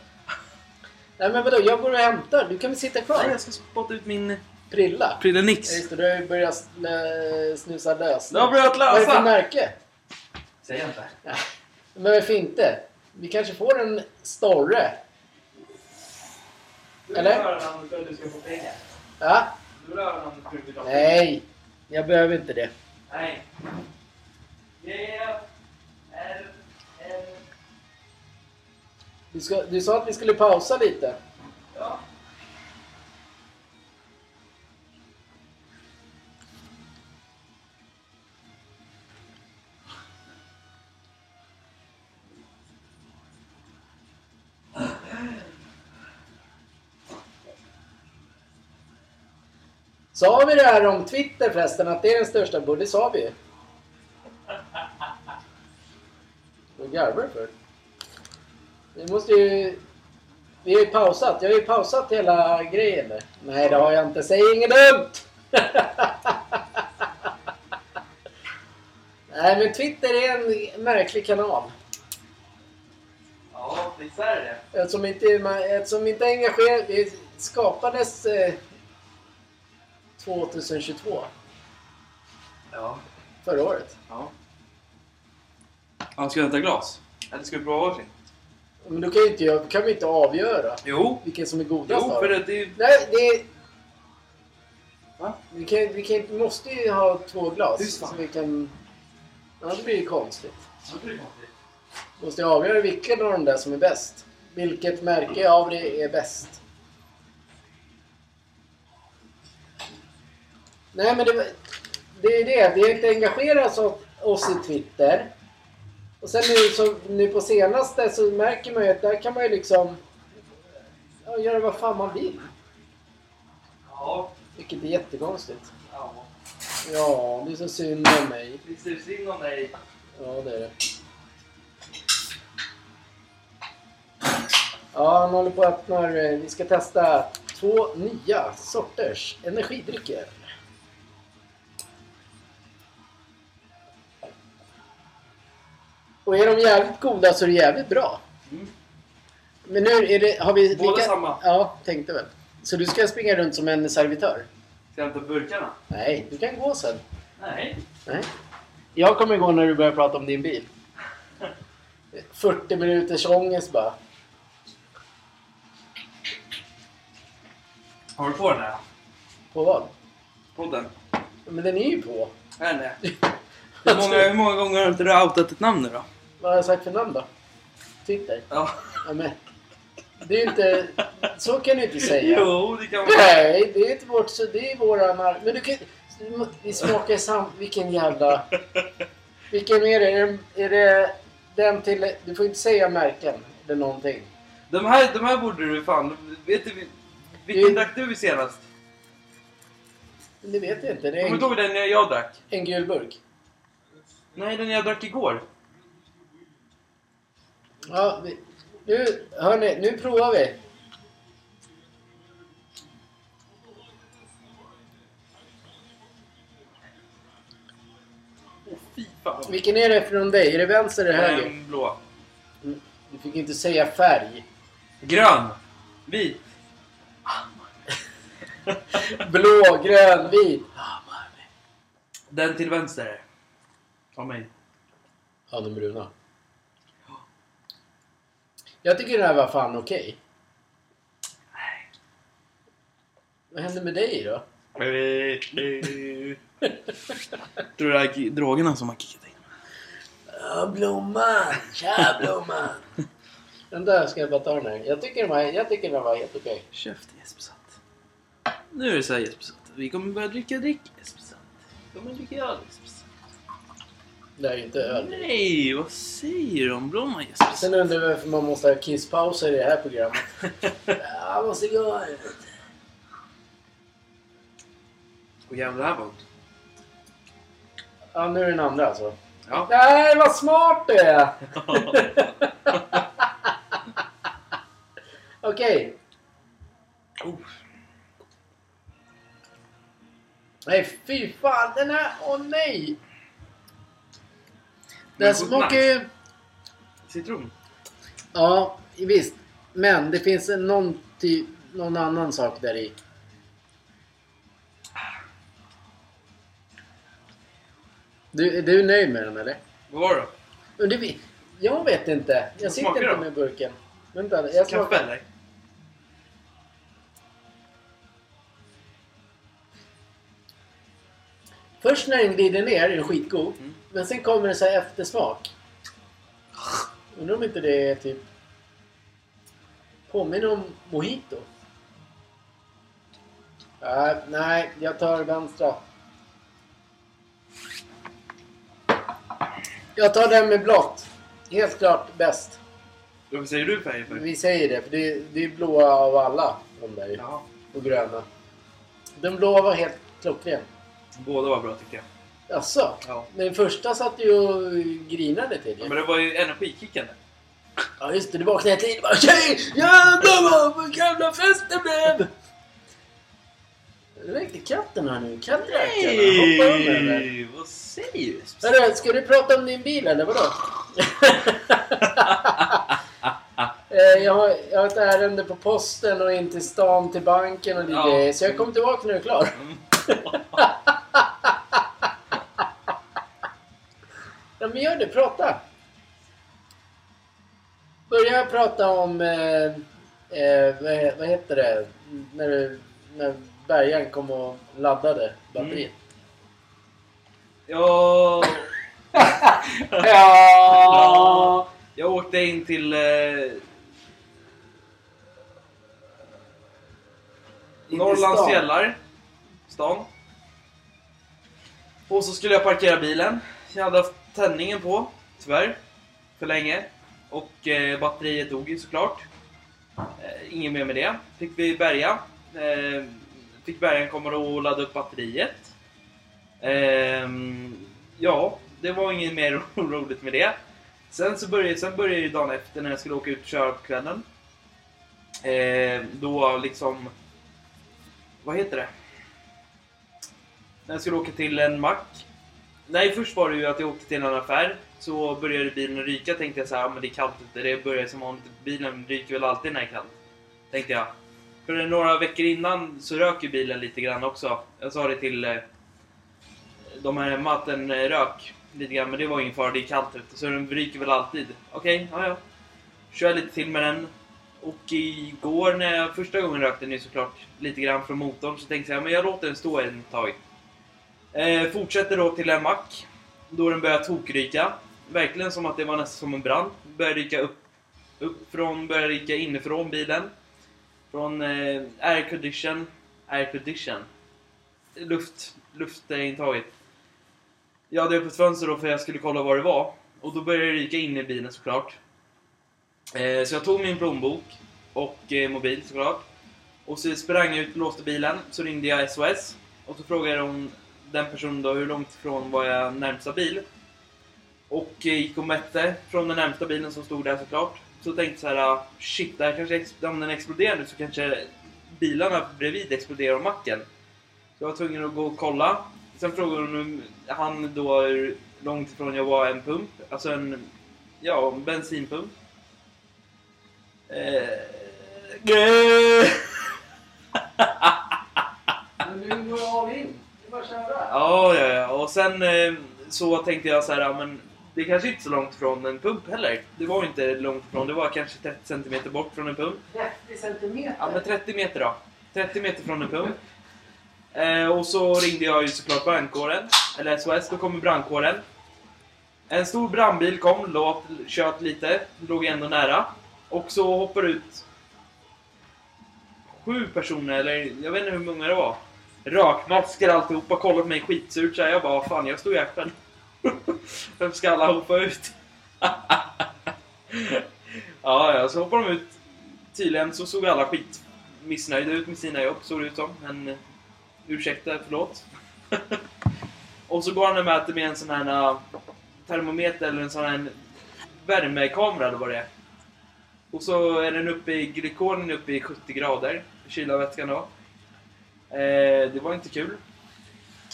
B: Nej men vadå, jag går och hämtar. Du kan väl sitta
A: Nej,
B: kvar?
A: jag ska spotta ut min
B: Prilla?
A: Prille
B: Ja,
A: Nix.
B: just det, du har ju börjat sl- snusa lös.
A: Du har börjat
B: Vad är det för
A: lösa!
B: märke?
A: Säg inte.
B: Men varför inte? Vi kanske får en storre?
A: Du
B: Eller?
A: rör honom för att du ska få pengar.
B: Ja?
A: Du rör honom för att du vill ha pengar.
B: Nej, jag behöver inte det.
A: Nej. G, R, L,
B: Du, ska, du sa att vi skulle pausa lite.
A: ja.
B: Sa vi det här om Twitter förresten, att det är den största bullen? Det sa vi ju. Vad garvar du för? Vi måste ju... Vi har ju pausat. Jag har ju pausat hela grejen där. Nej, det har jag inte. Säg inget dumt! Nej, men Twitter är en märklig kanal.
A: Ja, visst är det
B: Eftersom inte, man- eftersom inte engagerar... Det skapades eh, 2022,
A: Ja.
B: förra året.
A: Ja. Han ska hämta glas. Eller ska vi prova varsin?
B: Men då kan, ju inte, jag- kan vi inte avgöra
A: Jo.
B: vilken som är godast
A: Jo,
B: av
A: för
B: dem.
A: det, det är
B: Nej, det är...
A: Va?
B: Vi, kan, vi kan, inte- måste ju ha två glas.
A: Tyst,
B: så
A: fan.
B: vi kan... Annars blir det ju konstigt.
A: ju...
B: Måste jag avgöra vilken av de där som är bäst? Vilket märke av det är bäst? Nej, men det, var- det är det. Vi har inte engagerat oss- oss i Twitter. Och sen nu, så, nu på senaste så märker man ju att där kan man ju liksom ja, göra vad fan man vill.
A: Ja.
B: Vilket är jättekonstigt.
A: Ja.
B: Ja, det är så synd om mig.
A: Visst är det synd om dig?
B: Ja, det är det. Ja, han håller på att öppna. Vi ska testa två nya sorters energidrycker. Och är de jävligt goda så är det jävligt bra.
A: Mm.
B: Men nu är det... Har vi...
A: Båda samma.
B: Ja, tänkte väl. Så du ska springa runt som en servitör?
A: Ska jag hämta burkarna?
B: Nej, du kan gå sen.
A: Nej.
B: Nej. Jag kommer gå när du börjar prata om din bil. 40 minuters ångest bara.
A: Har du på den här?
B: På vad?
A: Podden?
B: Men den är ju på.
A: Är den det? Hur många, hur många gånger har inte du outat ett namn nu då?
B: Vad har jag sagt för namn då? Twitter?
A: Ja.
B: Ja, men. Det är ju inte... Så kan du inte säga.
A: Jo, det kan man.
B: Nej, det är inte vårt... Så det är våra... mar- Men du kan... Vi smakar sam... Vilken jävla... Vilken är det? Är det, är det den till... Du får inte säga märken eller någonting.
A: De här, de här borde du fan... Vet du vil- vilken
B: Mm.
A: drack du senast?
B: Men det vet jag inte. Det är
A: Kommer du
B: en,
A: ihåg den jag, jag drack?
B: en gul burk.
A: Nej, den jag drack igår.
B: Ja, vi, nu, hörni, nu provar vi.
A: Åh fy fan.
B: Vilken är det från dig? Är det vänster eller höger?
A: Den blå.
B: Mm. Du fick inte säga färg.
A: Grön. Vit.
B: Blå, grön, vit.
A: Den till vänster. Ta mig.
B: Ja, de bruna. Jag tycker det här var fan okej.
A: Nej.
B: Vad hände med dig då?
A: Tror du det är drogerna som har kickat in?
B: Ja, blomman! Tja, blomman! den där ska jag bara ta den här. Jag tycker den var, jag tycker den var helt okej.
A: Käft Jesper Satt. Nu är det så här Jesper Satt. Vi kommer börja dricka drick Jesper Satt. Vi kommer dricka öl Jesper Satt.
B: Det är ju inte öl.
A: Nej, vad säger du om Bromma Jesper Satt?
B: Sen undrar jag varför man måste ha kisspauser i det här programmet. jag måste gå.
A: Och jävlar det här var gott.
B: Ja, nu är den andra alltså.
A: Ja.
B: Nej, vad smart du är! Okej.
A: oh.
B: Nej, fy fan. Den här... Åh nej!
A: Men
B: Den
A: god
B: smakar ju...
A: Citron.
B: Ja, visst. Men det finns en- någon, typ, någon annan sak där i. Du, är du nöjd med den eller?
A: Vad var det då?
B: Men det, vi- jag vet inte. Jag
A: Vad
B: sitter
A: smakar
B: inte
A: det?
B: med burken. Vänta,
A: Kaffe
B: jag smakar.
A: eller?
B: Först när den glider ner är den skitgod.
A: Mm.
B: Men sen kommer det så här eftersmak. Undrar om inte det är typ... Påminner om mojito. Äh, nej, jag tar vänstra. Jag tar den med blått. Helt klart bäst.
A: Varför säger du färg för?
B: Vi säger det, för det är, det är blåa av alla. De där ju.
A: Ja.
B: Och gröna. Den blåa var helt klockren.
A: Båda var bra tycker jag.
B: Jaså?
A: Ja.
B: Men den första satt ju och grinade till
A: ja
B: ju.
A: men det var ju energikickande.
B: Ja just det, du vaknade jag till och bara Tjej! Jävlar vad jävla fest det blev! Räcker katten här nu? Kattrackarna? Hoppa om den där.
A: Nej! Vad säger du Jesper Satt?
B: Hörru, ska du prata om din bil eller vadå? Eh, jag, har, jag har ett ärende på posten och in till stan, till banken och det
A: Ja.
B: grejer. Så jag kommer tillbaka när du är klar.
A: Mm.
B: Ja men gör det, prata! Börja prata om, eh, eh, vad, vad heter det, när, du- när bärgaren kom och laddade batteriet.
A: Ja, Mm.
B: Ja!
A: jag åkte in till... Eh,
B: till
A: Norrlands
B: stan.
A: fjällar. Stan. Och så skulle jag parkera bilen. Jag hade haft tändningen på, tyvärr. För länge. Och eh, batteriet dog ju såklart. Eh, inget mer med det. Fick vi bärga. Eh, fick bärgaren komma och ladda upp batteriet. Ehm, ja, det var inget mer roligt med det. Sen så började, sen började ju dagen efter när jag skulle åka ut och köra på kvällen. Ehm, då liksom... Vad heter det? När jag skulle åka till en mack. Nej, först var det ju att jag åkte till en affär. Så började bilen ryka tänkte jag så här, "Ja, men det är kallt ute. Det börjar som vanligt. Bilen ryker väl alltid när det är kallt. Tänkte jag. För några veckor innan så rök ju bilen lite grann också. Jag sa det till eh, de här hemma att den eh, rök lite grann, men det var ingen fara, det är kallt ute. Så den ryker väl alltid. Okej, ja ja. Kör lite till med den. Och igår när jag första gången rökte den ju såklart lite grann från motorn så tänkte jag men jag låter den stå en tag. Eh, fortsätter då till en mack. Då den börjar tokryka. Verkligen som att det var nästan som en brand. Börjar ryka upp, upp från, börjar ryka inifrån bilen. Från eh, air condition, air condition. Luft, luftintaget. Jag hade öppet fönster då för jag skulle kolla vad det var. Och då började det ryka in i bilen såklart. Eh, så jag tog min plånbok och eh, mobil såklart. Och så sprang jag ut, låste bilen, så ringde jag SOS. Och så frågade hon, den personen då hur långt ifrån var jag närmsta bil. Och eh, gick och mätte från den närmsta bilen som stod där såklart. Så tänkte jag så här, ah, shit, där kanske ex- om den exploderar nu så kanske bilarna bredvid exploderar och macken. Så jag var tvungen att gå och kolla. Sen frågade hon om han då hur långt ifrån jag var en pump, alltså en, ja, en bensinpump. Eh, gö-
B: Men nu går jag all in. Det är bara att köra.
A: ja, ja, ja. Och sen eh, så tänkte jag så här, ja, men Det är kanske inte så långt från en pump heller. Det var inte långt från. Det var kanske 30 centimeter bort från en pump.
C: 30 centimeter.
A: Ja, men 30 meter då. 30 meter från en pump. Eh, och så ringde jag ju såklart brandkåren, eller SOS, då kommer brandkåren. En stor brandbil kom, låt, kört lite, låg ändå nära. Och så hoppar ut sju personer, eller jag vet inte hur många det var. Rakmasker alltihopa, kollar på mig skitsurt såhär. Jag bara, fan jag stod i arslet. Vem ska alla hoppa ut? ja, ja, så hoppar de ut. Tydligen så såg alla skit missnöjda ut med sina jobb, såg det ut som. Men eh, ursäkta, förlåt. och så går han och mäter med en sån här eh, termometer eller en sån här värmekamera eller vad det är. Och så är den uppe i glykolen är uppe i 70 grader, kyla vätskan då. Eh, det var inte kul.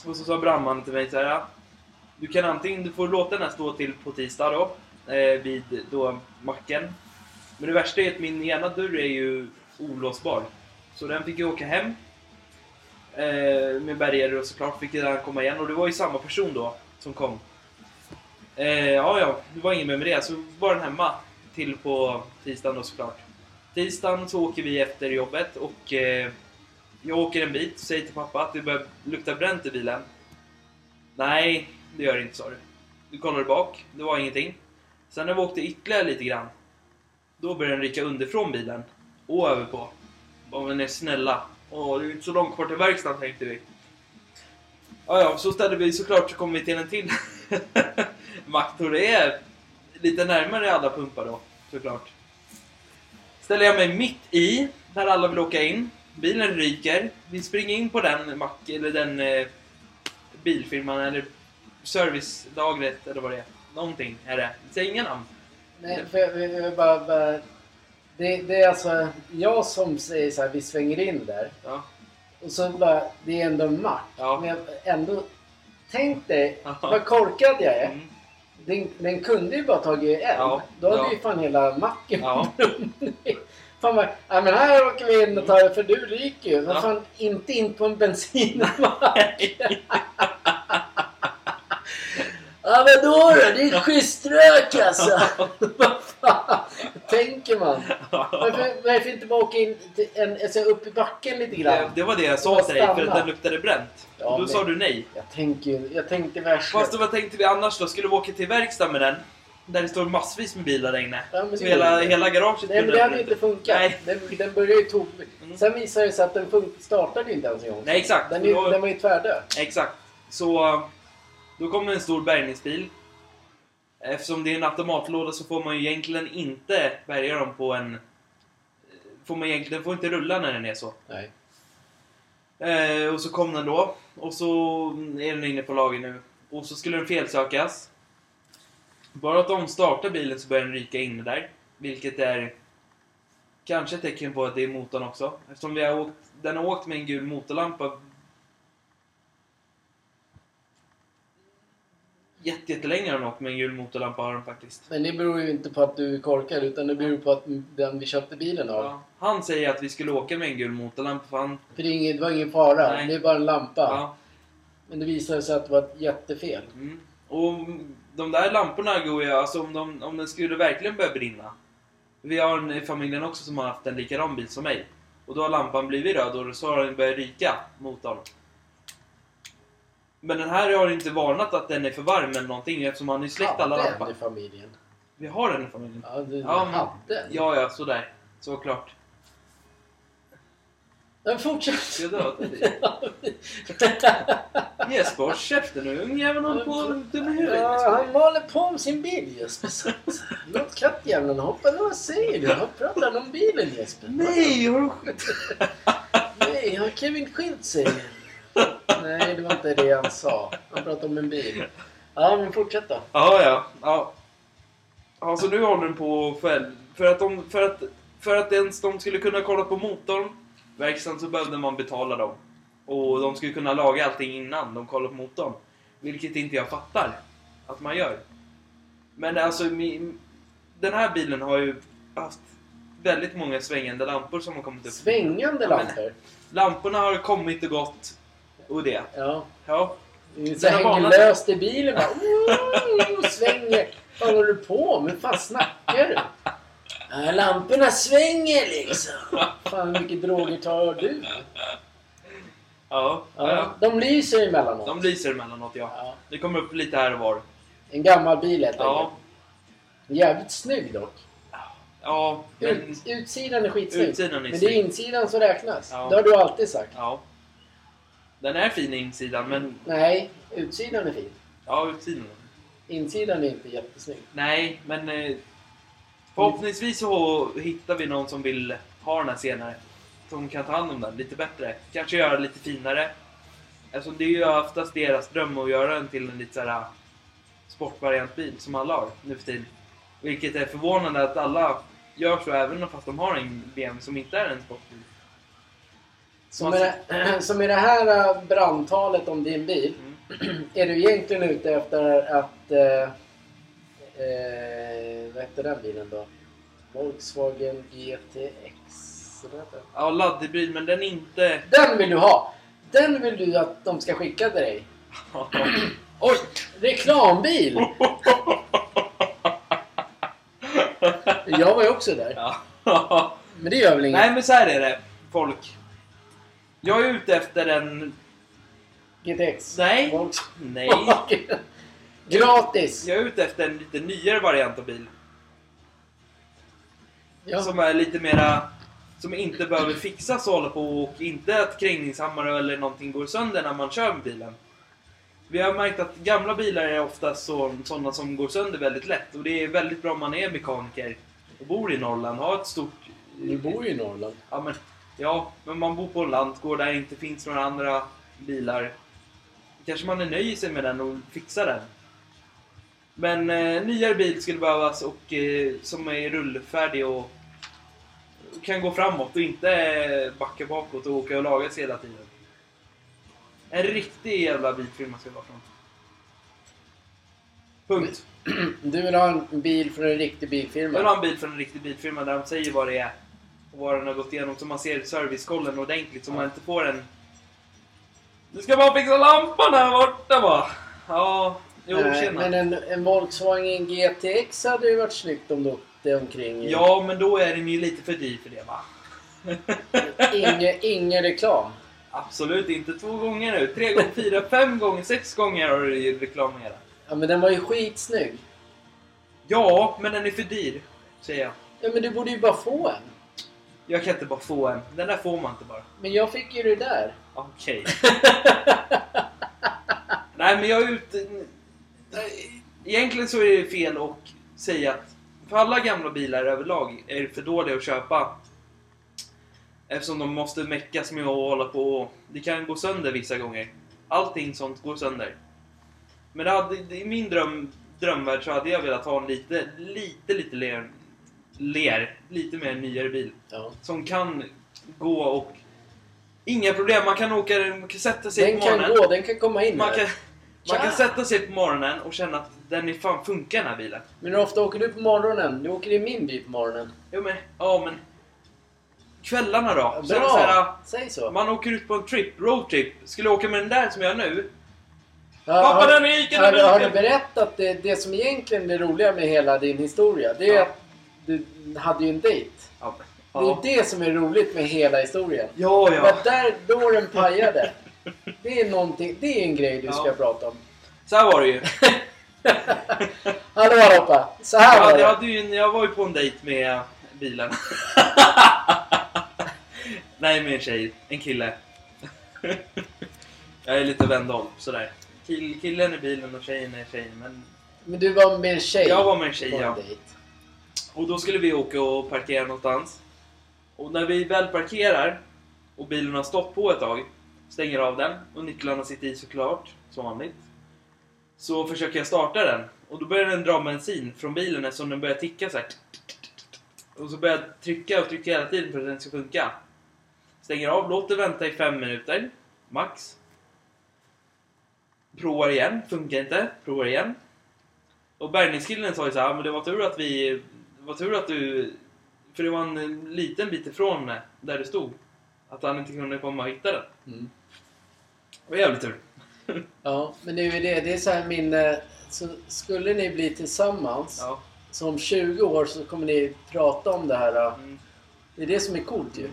A: Och så sa brandmannen till mig så här. Du kan antingen, du får låta den här stå till på tisdag då, eh, vid då macken. Men det värsta är att min ena dörr är ju olåsbar. Så den fick ju åka hem. Eh, med bärgare och såklart fick den komma igen och det var ju samma person då som kom. Eh, ja, ja, det var inget mer med det. Så var den hemma till på tisdagen då såklart. Tisdagen så åker vi efter jobbet och eh, jag åker en bit och säger till pappa att det börjar lukta bränt i bilen. Nej, det gör det inte sa du. Du kollade bak, det var ingenting. Sen när vi åkte ytterligare lite grann, då började den rycka underifrån bilen och över på. Bara, men är snälla. Åh, det är ju inte så långt kvar till verkstaden tänkte vi. Ja, ja, så ställde vi såklart så kom vi till en till mack och det är lite närmare alla pumpar då, såklart. Ställer jag mig mitt i, där alla vill åka in. Bilen ryker. Vi springer in på den mack, eller den eh, bilfirman eller servicelagret eller vad det är. Någonting är det. Säg inga namn.
B: Nej, för jag, jag vill bara, bara, det, det är alltså jag som säger så här, vi svänger in där.
A: Ja.
B: Och så bara, det är ändå en match.
A: Ja.
B: Men jag ändå, tänk dig
A: Ja.
B: vad korkad jag är.
A: Mm.
B: Den, den kunde ju bara tagit en.
A: Ja,
B: Då hade
A: ja.
B: ju fan hela macken
A: Ja.
B: brunnit. Fan vad, ja men här åker vi in och tar det för du ryker ju. Men
A: Ja.
B: fan inte in på en bensinmack. ja men då då, det är schysst rök alltså. Vad fan tänker man? Varför, varför inte bara åka in till en, alltså upp i backen lite grann?
A: Det, det var det jag
B: Det
A: sa
B: var
A: till dig för att
B: stanna.
A: den luktade bränt.
B: Ja,
A: och då
B: men-
A: sa du nej.
B: Jag, tänker, ju- jag tänkte värst.
A: Fast vad tänkte vi annars då? Skulle vi åka till verkstaden med den? Där det står massvis med bilar där inne.
B: Ja, men det
A: Så hela,
B: går inte.
A: hela garaget
B: Nej men
A: skulle
B: det hade
A: brinna
B: ju
A: inte.
B: inte funkat.
A: Nej.
B: Den, den började ju tom.
A: Mm.
B: Sen visade det sig att den fun- startade inte ens en gång.
A: Nej, exakt.
B: Den, är,
A: Och då-
B: ju- den var ju tvärdöd.
A: Exakt. Så då kommer en stor bärgningsbil. Eftersom det är en automatlåda så får man ju egentligen inte bärga dem på en... Får man egentligen får inte rulla när den är så.
B: Nej.
A: Eh, och så kom den då. Och så är den inne på lager nu. Och så skulle den felsökas. Bara att de startar bilen så börjar den ryka in där. Vilket är kanske ett tecken på att det är motorn också. Eftersom vi har åkt, den har åkt med en gul motorlampa jätte- jättelänge har den åkt med en gul motorlampa har den faktiskt.
B: Men det beror ju inte på att du är korkad utan det beror på att den vi köpte bilen av.
A: Ja. Han säger att vi skulle åka med en gul motorlampa för han...
B: För det, är ingen, det var ingen fara.
A: Nej.
B: Det är bara en lampa.
A: Ja.
B: Men det visade sig att det var ett jättefel.
A: Mm. Och de där lamporna går ju, alltså om, de, om den skulle verkligen börja brinna. Vi har en i familjen också som har haft en likadan bil som mig. Och då har lampan blivit röd och så har den börjat ryka, motorn. Men den här har inte varnat att den är för varm eller någonting eftersom han har ju släckt alla
B: Hade en
A: lampor.
B: i familjen.
A: Vi har den i familjen.
B: Ja, du
A: Ja, men-
B: hade en.
A: Ja, ja, sådär. Såklart.
B: Men fortsätt!
A: Ska jag döda dig? Yes, håll käften nu ungjäveln håller på att dumma
B: Ja,
A: huvudet.
B: han maler på om sin bil Jesper. Så- Låt kattjäveln hoppa. Vad säger du? Han pratar om bilen Jesper.
A: Nej, har du skjutit?
B: Nej, har Kevin skilt sig? Nej, det var inte det han sa. Han pratade om en bil. Ja, men fortsätt då.
A: Ja, ja. ja. Alltså nu håller den på själv. För att, de, för, att, för att ens de skulle kunna kolla på motorn, verkstaden, så behövde man betala dem. Och de skulle kunna laga allting innan de kollar på motorn. Vilket inte jag fattar att man gör. Men alltså, mi- den här bilen har ju haft väldigt många svängande lampor som har kommit upp.
B: Svängande
A: Ja, men-
B: lampor.
A: Lamporna har kommit och gått och det.
B: Ja,
A: Ja,
B: Så
A: Den har
B: hänger
A: banat sig.
B: löst i bilen bara. "Ooh", Svänger. Vad håller du på med? Vad fan snackar du? "Ja, Lamporna svänger liksom. Fan hur mycket droger tar du?
A: Ja, ja.
B: Ja, de lyser emellanåt.
A: De lyser emellanåt ja.
B: Ja.
A: Det kommer upp lite här och var.
B: En gammal bil helt
A: Ja,
B: enkelt. Jävligt snygg dock.
A: ja, men...
B: Ut, utsidan är skitsnygg.
A: Utsidan är
B: men det
A: snygg.
B: är insidan som räknas.
A: Ja.
B: Det har du alltid sagt.
A: Ja. Den är fin insidan, men...
B: Nej, utsidan är fin.
A: Ja, utsidan.
B: Insidan är inte jättesnygg.
A: Nej, men... Eh, förhoppningsvis så hittar vi någon som vill ha den här senare. Som kan ta hand om den lite bättre. Kanske göra den lite finare. Alltså det är ju oftast deras dröm att göra den till en lite såhär sportvariantbil som alla har nu för tiden. Vilket är förvånande att alla gör så även fast de har en BMW som inte är en sportbil.
B: Som i,
A: Alltså-
B: det, som i det här äh, brandtalet om din bil.
A: Mm.
B: Är du egentligen ute efter att... Eh, eh, vad hette den bilen då? Volkswagen GTX. eller vad heter den?
A: Ja, laddhybrid, men den är inte...
B: Den vill du ha! Den vill du att de ska skicka till dig.
A: Oj!
B: Reklambil! Jag var ju också där.
A: Ja.
B: Men det gör väl inget?
A: Nej, men så här är det, folk. Jag är ute efter en...
B: GTX?
A: Nej.
B: Volkswagen.
A: Nej.
B: Gratis!
A: Jag är ute efter en lite nyare variant av bil.
B: Ja.
A: Som är lite mera... Som inte behöver fixas och hålla på och inte att krängningshammare eller någonting går sönder när man kör med bilen. Vi har märkt att gamla bilar är oftast så, sådana som går sönder väldigt lätt och det är väldigt bra om man är mekaniker och bor i Norrland, har ett stort...
B: Du bor ju i Norrland.
A: Ja men, ja, men man bor på en lantgård där det inte finns några andra bilar. Kanske man är nöjd sig med den och fixar den. Men eh, nyare bil skulle behövas och eh, som är rullfärdig och kan gå framåt och inte eh, backa bakåt och åka och laga sig hela tiden. En riktig jävla bilfirma ska det vara från. Punkt.
B: Du vill ha en bil från en riktig
A: Jag vill ha en
B: bilfirma.
A: bil från en riktig bilfirma där de säger vad det är och vad den har gått igenom så man ser servicekollen ordentligt så man inte får en... Du ska bara fixa lampan här borta bara! Ja, jo
B: Nej,
A: tjena.
B: men en, en Volkswagen GTX hade ju varit snyggt om du åkte omkring i.
A: Ja, men då är den ju lite för dyr för det va?
B: Inge, ingen reklam.
A: Absolut inte två gånger nu. Tre gånger, fyra, fem gånger, sex gånger har du ju reklamerat.
B: Ja, men den var ju skitsnygg.
A: Ja, men den är för dyr, säger jag.
B: Ja, men du borde ju bara få en.
A: Jag kan inte bara få en. Den där får man inte bara.
B: Men jag fick ju det där.
A: Okej. Nej, men jag är ute... Nej, Egentligen så är det fel att säga att för alla gamla bilar överlag är det för dåliga att köpa. Eftersom de måste meckas med att hålla på och... Det kan gå sönder vissa gånger. Allting sånt går sönder. Men det hade, i min dröm, drömvärld så hade jag velat ha en lite, lite, lite ler, ler, lite mer nyare bil
B: Ja.
A: som kan gå och... Inga problem, man kan åka, man kan sätta sig
B: Den
A: på
B: kan
A: morgonen.
B: gå, den kan komma in
A: man,
B: här.
A: kan, man
B: Tja.
A: kan sätta sig på morgonen och känna att den är fan funkar den här bilen.
B: Men hur ofta åker du på morgonen? Du åker i min bil på morgonen.
A: Jo men, ja men... Kvällarna då?
B: Ja,
A: Så är det så här,
B: Bra! Säg så.
A: man åker ut på en trip, roadtrip. Skulle jag åka med den där som jag gör nu?
B: Ja,
A: Pappa
B: har-
A: den är riken!
B: Har,
A: den är
B: har du
A: riken.
B: berättat det, det som egentligen är roliga med hela din historia? Det är
A: Ja.
B: att du hade ju en dejt.
A: Ja, men-
B: Det är det som är roligt med hela historien.
A: ja,
B: Det
A: ja.
B: var där då den pajade. Det är, någonting- det är en grej du
A: Ja.
B: ska prata om.
A: Så här var det ju.
B: Hallå allihopa! Så här
A: Jag,
B: var
A: hade, jag,
B: det.
A: hade ju en, jag var ju på en dejt med bilen. Nej, med en tjej. En kille. jag är lite vändholm, sådär. Kill, killen i bilen och tjejen är tjejen. Men
B: Men du var med en tjej
A: jag var med en
B: på
A: tjej,
B: en
A: ja.
B: dejt.
A: Och då skulle vi åka och parkera någonstans. Och när vi väl parkerar och bilen har stått på ett tag, stänger av den och nycklarna sitter i såklart, som vanligt. Så försöker jag starta den och då börjar den dra bensin från bilen eftersom den börjar ticka så här. Och så börjar jag trycka och trycka hela tiden för att den ska funka. Stänger av, låter vänta i fem minuter, max. Provar igen, funkar inte, provar igen. Och bärgningskillen sa ju så här, men det var tur att vi... Det var tur att du... För det var en eh, liten bit ifrån eh, där du stod. Att han inte kunde komma och hitta den.
B: Mm.
A: Det var jävligt tur.
B: Ja, men det är ju det. Det är så här min... eh, Så skulle ni bli tillsammans,
A: Ja.
B: så om 20 år så kommer ni prata om det här. eh.
A: Mm.
B: Det är det som är coolt ju.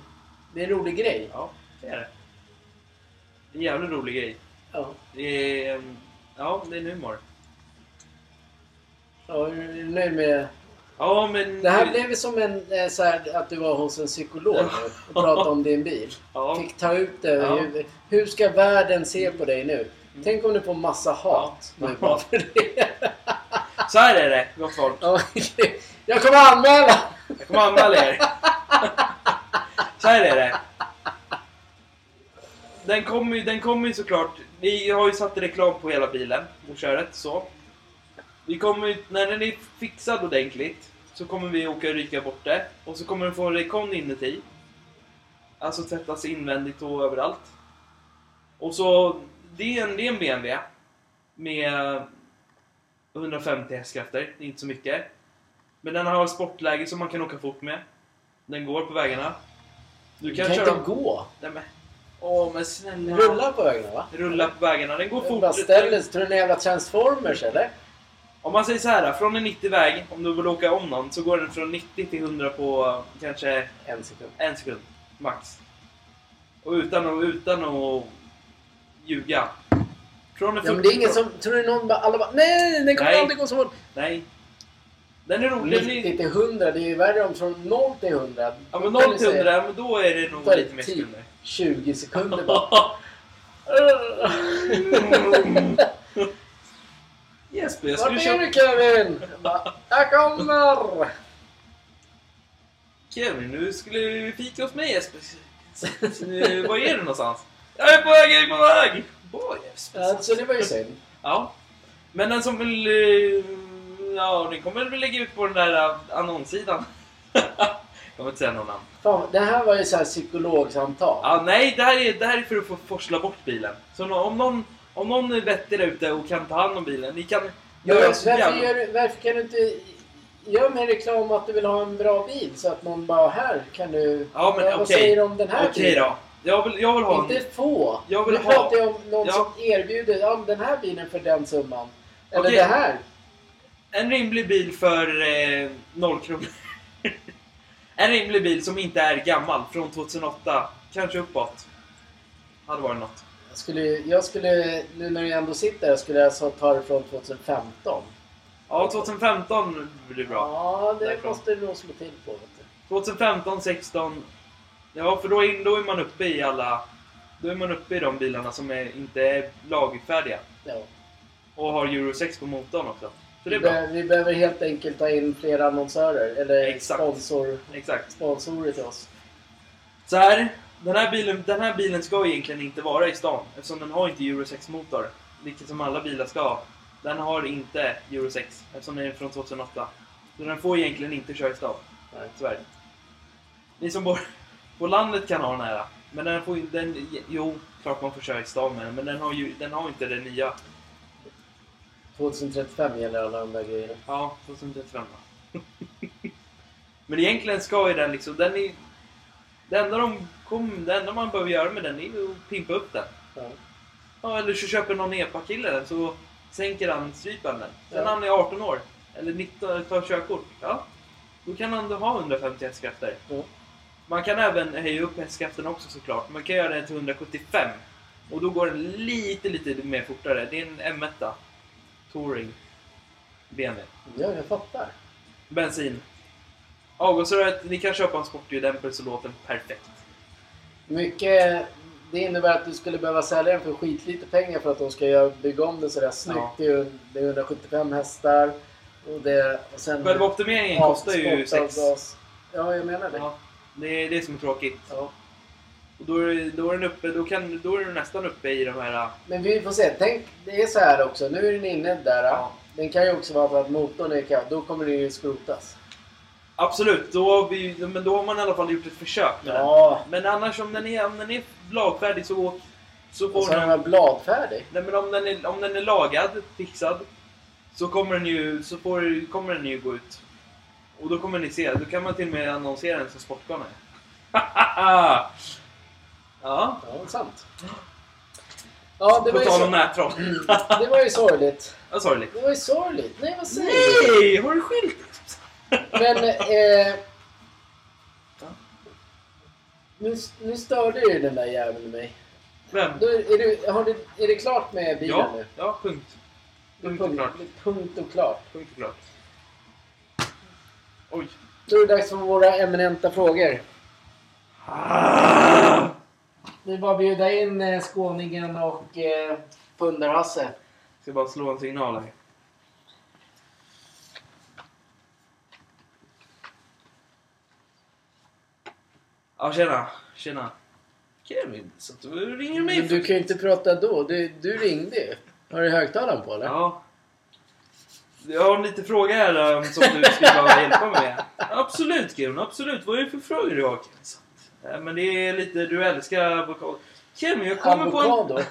B: Det är en rolig grej.
A: ja, det är det. Det är en jävligt rolig grej.
B: Ja.
A: Det är... ehm, Ja, det är en humor.
B: Ja, är du nöjd med...
A: Ja, men...
B: Det här blev ju som en, eh, så här, att du var hos en psykolog nu och pratade om din bil.
A: Ja.
B: Fick ta ut det.
A: Ja.
B: Hur, hur ska världen se på dig nu? Tänk om du får massa hat
A: Ja.
B: nu bara för det.
A: Så här är det, gott folk.
B: Ja, Jag kommer anmäla!
A: Jag kommer anmäla er. Så här är det. Den kommer ju den kommer ju såklart. Vi har ju satt reklam på hela bilen och köret så. Vi kommer ju, när den är fixad ordentligt så kommer vi åka och ryka bort det. Och så kommer den få en rekon inuti. Alltså tvättas invändigt och överallt. Och så, det är en, det är en BMW. Med 150 hästkrafter, det är inte så mycket. Men den har sportläge som man kan åka fort med. Den går på vägarna. Du
B: Du
A: kan,
B: kan
A: köra...
B: inte gå.
A: Nej, men. Åh, men snälla.
B: Rulla på ögonen va?
A: Rulla på vägarna. Den går
B: Den
A: fort.
B: bara ställer sig. Tror du den är jävla transformers eller?
A: Om man säger så här, från en 90-väg, om du vill åka om någon, så går den från 90 till 100 på eh, kanske
B: En sekund.
A: en sekund. Max. Och utan att, utan att ljuga. Från en
B: Ja, men det är
A: 40
B: ingen som... Tror du någon bara... Alla bara... Nej, den kommer
A: Nej.
B: aldrig gå så fort.
A: Nej. Den är rolig. Den är...
B: 90 till 100, det är ju värre om från 0 till 100.
A: Ja, men
B: Då kan
A: 0
B: du
A: till
B: säga,
A: 100, men då är det nog
B: Då är det
A: lite mer
B: 10.
A: sekunder.
B: 20 sekunder bara.
A: Jesper, jag
B: Vart
A: skulle
B: är
A: köpa...
B: du Kevin? Jag bara, Jag kommer!
A: Kevin, nu skulle vi fika hos mig Jesper. Nu, Var är du någonstans? Jag är på väg, jag är på väg! Bra Jesper.
B: Alltså det var ju synd.
A: Ja. Men den som vill... eh, Ja, ni kommer väl lägga ut på den där eh, annonssidan. jag kommer inte säga någon namn.
B: Fan, det här var ju så här psykologsamtal.
A: Ja, nej, det här, är, det här är för att få forsla bort bilen. Så nå- om någon, om någon är vettig där ute och kan ta hand om bilen, ni kan...
B: Ja,
A: göra så
B: varför,
A: jävla-
B: gör, du- varför kan du inte... Gör mer reklam att du vill ha en bra bil så att någon bara här kan du...
A: Ja, men
B: Vad
A: okej.
B: säger du om den här
A: Okej
B: bilen?
A: då. Jag vill, jag vill ha en...
B: Inte få.
A: Jag vill
B: nu
A: ha-
B: pratar jag om någon
A: Ja.
B: som erbjuder ja, men den här bilen för den summan. Eller
A: Okej.
B: det här.
A: En rimlig bil för eh, noll kronor. en rimlig bil som inte är gammal, från 2008. Kanske uppåt. Hade varit något.
B: Jag skulle, jag skulle, nu när jag ändå sitter här, skulle jag alltså ta det från 2015.
A: Ja, 2015 blir bra.
B: Ja, det
A: Därifrån.
B: måste du nog slå till på. Vet du.
A: 2015, 16. Ja, för då är, då är man uppe i alla... Då är man uppe i de bilarna som är, inte är lagfärdiga.
B: Ja.
A: Och har Euro 6 på motorn också. Så det är
B: Vi,
A: bra.
B: be- vi behöver helt enkelt ta in fler annonsörer eller
A: Exakt.
B: sponsor,
A: Exakt.
B: sponsorer till oss.
A: Så här, den här, bilen, den här bilen ska egentligen inte vara i stan eftersom den har inte Euro 6-motor. Vilket som alla bilar ska ha. Den har inte Euro 6 eftersom den är från 2008. Så den får egentligen inte köra i stan.
B: Nej.
A: Tyvärr. Ni som bor på landet kan ha den här. Men den får ju- den, Jo, klart man får köra i stan med den. Men den har ju den har inte det nya.
B: 2035 gäller alla andra grejer.
A: Ja, 2035 då. Men egentligen ska ju den liksom... Den är, det, enda de kom, det enda man behöver göra med den är ju att pimpa upp den.
B: Ja.
A: Ja, eller så köper någon EPA-kille den så sänker han strypen den. Sen
B: Ja.
A: när han är 18 år, eller 19, eller tar körkort, ja. Då kan han ha 150 hästkrafter.
B: Ja.
A: Man kan även höja upp hästkraften också såklart. Man kan göra den till 175. Och då går den lite, lite mer fortare. Det är en M1 Touring BMW.
B: ja, jag fattar.
A: Bensin. Avgasröret, ni kan köpa en sportdämpare så låter den perfekt.
B: Mycket, det innebär att du skulle behöva sälja den för skitlite pengar för att de ska göra, bygga om den sådär snyggt.
A: Ja.
B: Det, är, ju- det är 175 hästar och, det, och sen...
A: Själva optimeringen kostar ju 6.
B: sportavgas. Ja, jag menar det.
A: Ja, det är det som är tråkigt.
B: Ja.
A: Och då är, då är den uppe, då, kan, då är den nästan uppe i de här...
B: Men vi får se. Tänk, det är så här också. Nu är den inne där.
A: Ja.
B: Den kan ju också vara för att motorn är kav. Då kommer det ju skrotas.
A: Absolut, då har, vi, men då har man i alla fall gjort ett försök med
B: Ja.
A: den. Men annars om den är, om den är lagfärdig så, så
B: Och
A: får
B: så är den
A: den...
B: här bladfärdig.
A: Nej, men om den, är, om den är lagad, fixad, så kommer den ju, så får, kommer den ju gå ut. Och då kommer ni se, då kan man till och med annonsera den som sportgården. ja,
B: Ja, sant. Ja, det
A: På
B: var, ju
A: tal om
B: så...
A: nättroll.
B: det var ju sorgligt.
A: Vad sa du Liv?
B: Det var ju sorgligt. Nej, vad säger du?
A: Nej! Har du skilt
B: Men... Eh, nu, nu störde ju den där jäveln mig.
A: Vem?
B: Då är, är, du, har du, är det klart med bilen
A: Ja,
B: nu?
A: ja, punkt.
B: Det är
A: Punkt och klart.
B: Punkt och klart.
A: Punkt och klart. Oj.
B: Då är det dags för våra eminenta frågor.
A: Ah!
B: Det är bara att bjuda in eh, skåningen och eh, pundarhasse.
A: Ska bara slå en signal här. Ja, tjena. Tjena. Kevin, så att du ringer mig
B: Men du kan ju inte prata då. Du, du ringde ju. Har du högtalaren på eller?
A: Ja. Jag har en liten fråga här um, som du skulle behöva hjälpa mig med. Absolut Kevin, absolut. Vad är det för frågor du har Kevin? Så att, eh, Men det är lite, du älskar avokado. Kevin, jag kommer på en...
B: Avokado.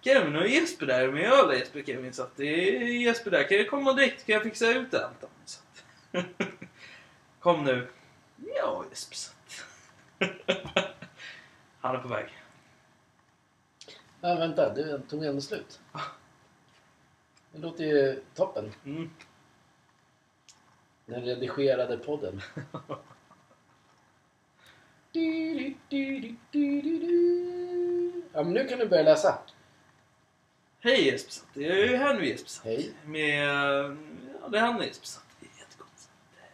A: Kevin och Jesper där med öl är Jesper Kevin. Så att det är Jesper där. Kan jag komma direkt? Kan jag fixa ut det? Anton? Så att... Kom nu. Ja Jesper. Så att... Han är på väg.
B: Ja, vänta. Du tog ändå slut. Det låter ju toppen.
A: Mm.
B: Den redigerade podden. Ja, men nu kan du börja läsa.
A: Hej Jesper. Så att Det är ju här nu Jesper. Så att-
B: Hej.
A: Med... eh, Ja, det händer Jesper. Så det är jättegott. Så att, eh,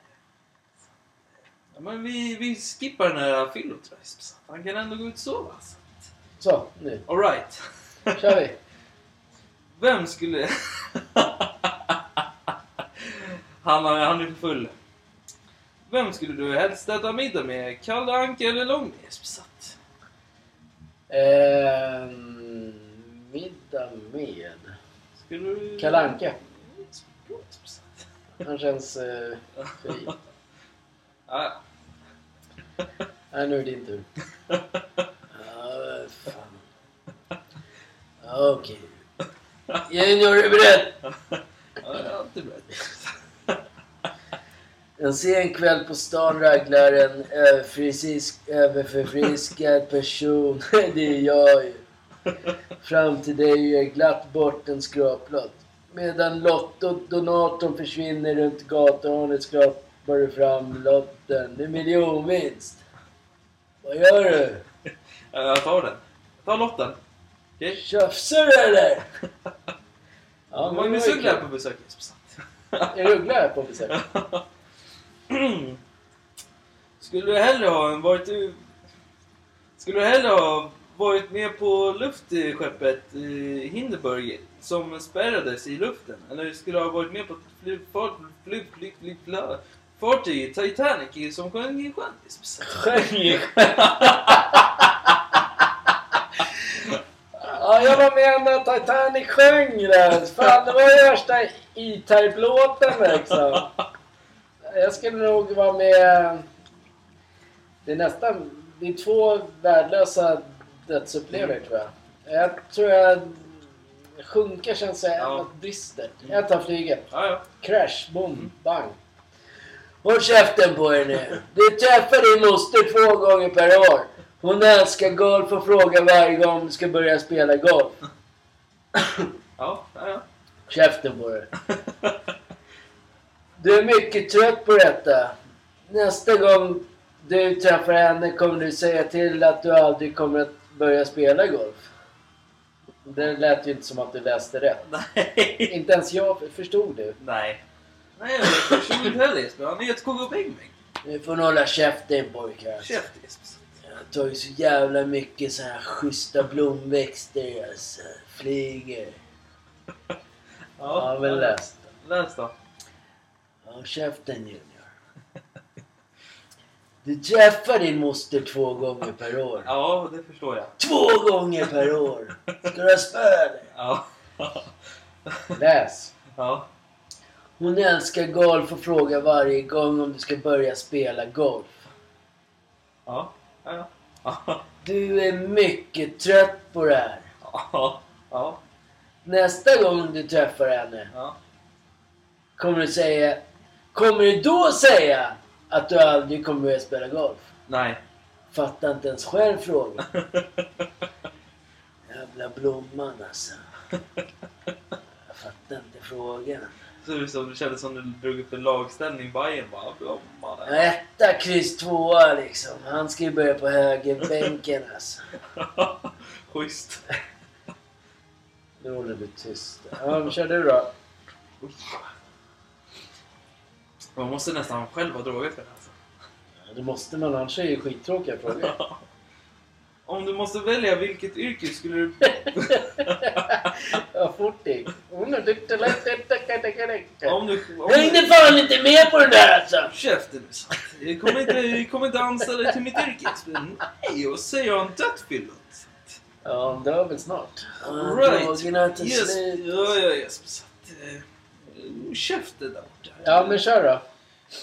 A: så att, eh, Ja, men vi, vi skippar den här fyllon tror jag Jesper. Så att Han kan ändå gå ut och sova. så att-
B: Så, nu
A: All right.
B: kör vi.
A: Vem skulle... han, har- han är för full. Vem skulle du helst äta middag med? Kalle Anka eller Lång Jesper? Så att-
B: Ehm, middag med
A: Skulle du...
B: Kalle Anka.
A: Jesper, bra, Jesper, så att-
B: Han känns eh, fri.
A: Ja, ja.
B: Nej, nu är det din tur. Ja, fan. Ja, Okej. Junior, är du beredd?
A: Ja, jag är alltid beredd.
B: En sen kväll på stan raglar en överfrisk, överförfriskad person. Det är jag ju. Fram till dig ger glatt bort en skraplott. Medan lottodonatorn försvinner runt gatuhörnet skrapar du fram lotten. Det är miljonvinst. Vad gör du?
A: Ja, Jag tar den. Ta lotten. Okej?
B: Tjafsar du eller? Ja, men
A: Magnus
B: det var ju
A: Uggla är
B: kul.
A: på besök Jesper. Så att-
B: Är Uggla här på besök?
A: Skulle du hellre ha en varit u- Skulle du hellre ha varit med på luftskeppet eh, Hindenburg som spärrades i luften? Eller skulle du ha varit med på fly- fart- fly- fly- fly- fly- fartyget Titanic i- som sjönk i sjön?
B: Skägg. Ja, jag var med när Titanic sjöng den. Fan, det var ju värsta E-Type-låten liksom. Jag skulle nog vara med... Det är nästan... Det är två värdelösa dödsupplevelser tror jag. Jag tror jag... Sjunka känns så jävla
A: Ja.
B: dystert. Jag tar flyget.
A: Ja, ja.
B: Crash, boom, bang. Håll käften på er nu. Du träffar din moster två gånger per år. Hon älskar golf och frågar varje gång du ska börja spela golf.
A: Ja, ja, ja.
B: Käften på dig. Du är mycket trött på detta. Nästa gång du träffar henne kommer du säga till att du aldrig kommer att börja spela golf. Det lät ju inte som att du läste rätt.
A: Nej.
B: Inte ens jag förstod det.
A: Nej. Nej, jag förstod inte heller Jesper. Han är ett KG Bengtbing.
B: Nu får ni hålla käften pojkar.
A: Käft Jesper.
B: Jag har tagit så jävla mycket så här schyssta blomväxter alltså. Flyger. Ja, väl läst.
A: Läs då.
B: Ja, käften Junior. Du träffar din moster två gånger per år.
A: Ja, det förstår jag.
B: Två gånger per år! Ska du ha spö eller?
A: Ja.
B: Läs.
A: Ja.
B: Hon älskar golf och frågar varje gång om du ska börja spela golf.
A: Ja. Ja. Ja.
B: Du är mycket trött på det här.
A: Ja. Ja.
B: Nästa gång du träffar henne
A: Ja.
B: Kommer du säga... Kommer du då säga att du aldrig kommer börja spela golf?
A: Nej.
B: Fattar inte ens själv frågan. Jävla
C: blomman alltså. Jag fattar inte frågan.
A: Så det, som, det kändes som du drog upp en lagställning i Bayern bara. Blomma där.
C: Etta, kryss tvåa liksom. Han ska ju börja på högerbänken alltså.
A: Schysst.
C: Nu håller du tyst.
B: Ja, men kör du då.
A: Man måste nästan själv ha drogat för det här, alltså.
B: Det måste man, annars är det ju skittråkiga frågor.
A: Om du måste välja vilket yrke skulle du...
B: Ja, fort gick.
A: Om du... Om
C: Jag hängde
A: du
C: fan inte med på den där alltså!
A: Käften nu så. Jag kommer inte, jag kommer inte anställa dig till mitt yrke. Nej, och säger jag en dödfyllot.
B: Ja, det var väl snart.
C: Ja, Drogerna
A: Right.
C: till
A: Yes.
C: slut.
A: Ja, ja, Jesper. Så att... eh, Käften där borta.
B: Ja, men kör då.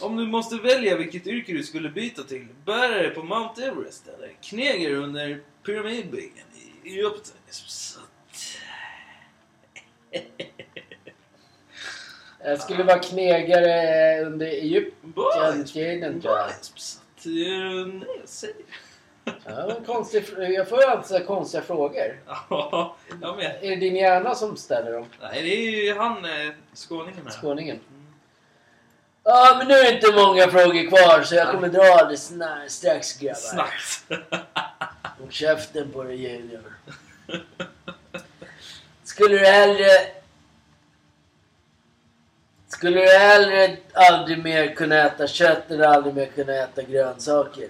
A: Om du måste välja vilket yrke du skulle byta till, bärare på Mount Everest eller knegare under pyramidbyggen i Egypten? Så att-
B: Jag skulle vara knegare under
A: Bara-
B: Egypten-tiden tror jag.
A: bara- så att, eh, Nej, jag säger...
B: Ja, det var en konstig, fr- jag får ju alltid så här konstiga frågor.
A: Ja, jag med.
B: Är det din hjärna som ställer dem?
A: Nej, det är ju han, eh, skåningen här.
B: Skåningen?
C: Ja, men nu är det inte många frågor kvar så jag kommer dra alldeles sna- strax grabbar.
A: Snacks.
C: Håll käften på dig Junior. Skulle du hellre... Skulle du hellre aldrig mer kunna äta kött eller aldrig mer kunna äta grönsaker?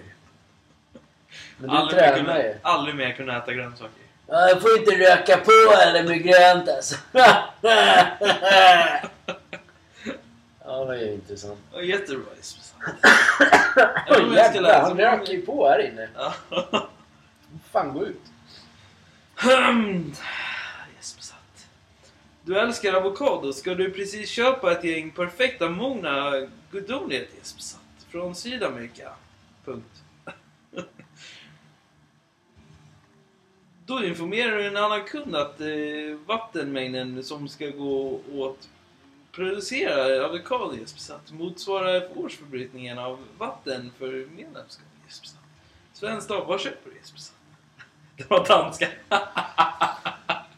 B: Men du
A: Aldrig mer,
B: tränar
A: kunna,
B: ju.
A: aldrig mer kunna äta grönsaker.
C: Ja, jag får inte röka på eller med grönt alltså.
B: Ja, det var ju intressant.
A: Ja, Jättebra, Jesper. Så att- Jag alltså- vet inte om
B: Oj,
A: jag ska
B: jävlar,
A: läsa
B: han
A: på
B: rök
A: det.
B: ju på här inne.
A: Ja.
B: Fan, gå ut.
A: Ahem. Jesper satt. Du älskar avokado. Ska du precis köpa ett gäng perfekta mogna gudomlighet Jesper satt. Från Sydamerika. Punkt. Då informerar du en annan kund att eh, vattenmängden som ska gå åt producera avokado Jesper satt motsvarar årsförbrukningen av vatten för medlemskap Jesper satt. Svenskt av, vad köper du Jesper satt? Det var danska.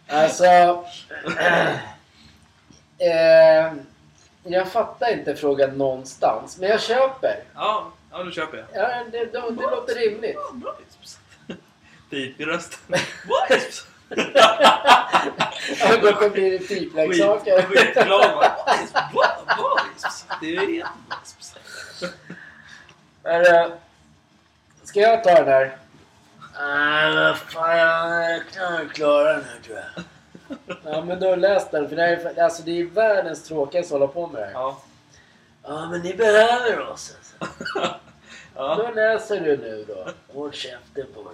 B: Alltså... eh, jag fattar inte frågan någonstans, men jag köper.
A: Ja, ja då köper jag.
B: Ja, det, det, det låter rimligt.
A: Ja, bra Jesper. Pip i rösten. Bra Jesper.
B: Jag kommer bli
A: Skit-
B: typleksaker.
A: Skitglad va? Bra Jesper. Bra, bra Jesper. Det är jättebra Jesper.
B: Men, eh, Ska jag ta den här?
C: Nej, vad fan. Jag kan klara den här tror jag.
B: Ja, men då läs den. För det, här är, för- alltså, det är världens tråkigaste att hålla på med det här.
A: Ja.
C: Ja, men ni behöver oss alltså.
A: ja.
B: Då läser du nu då.
C: Håll käften på dig.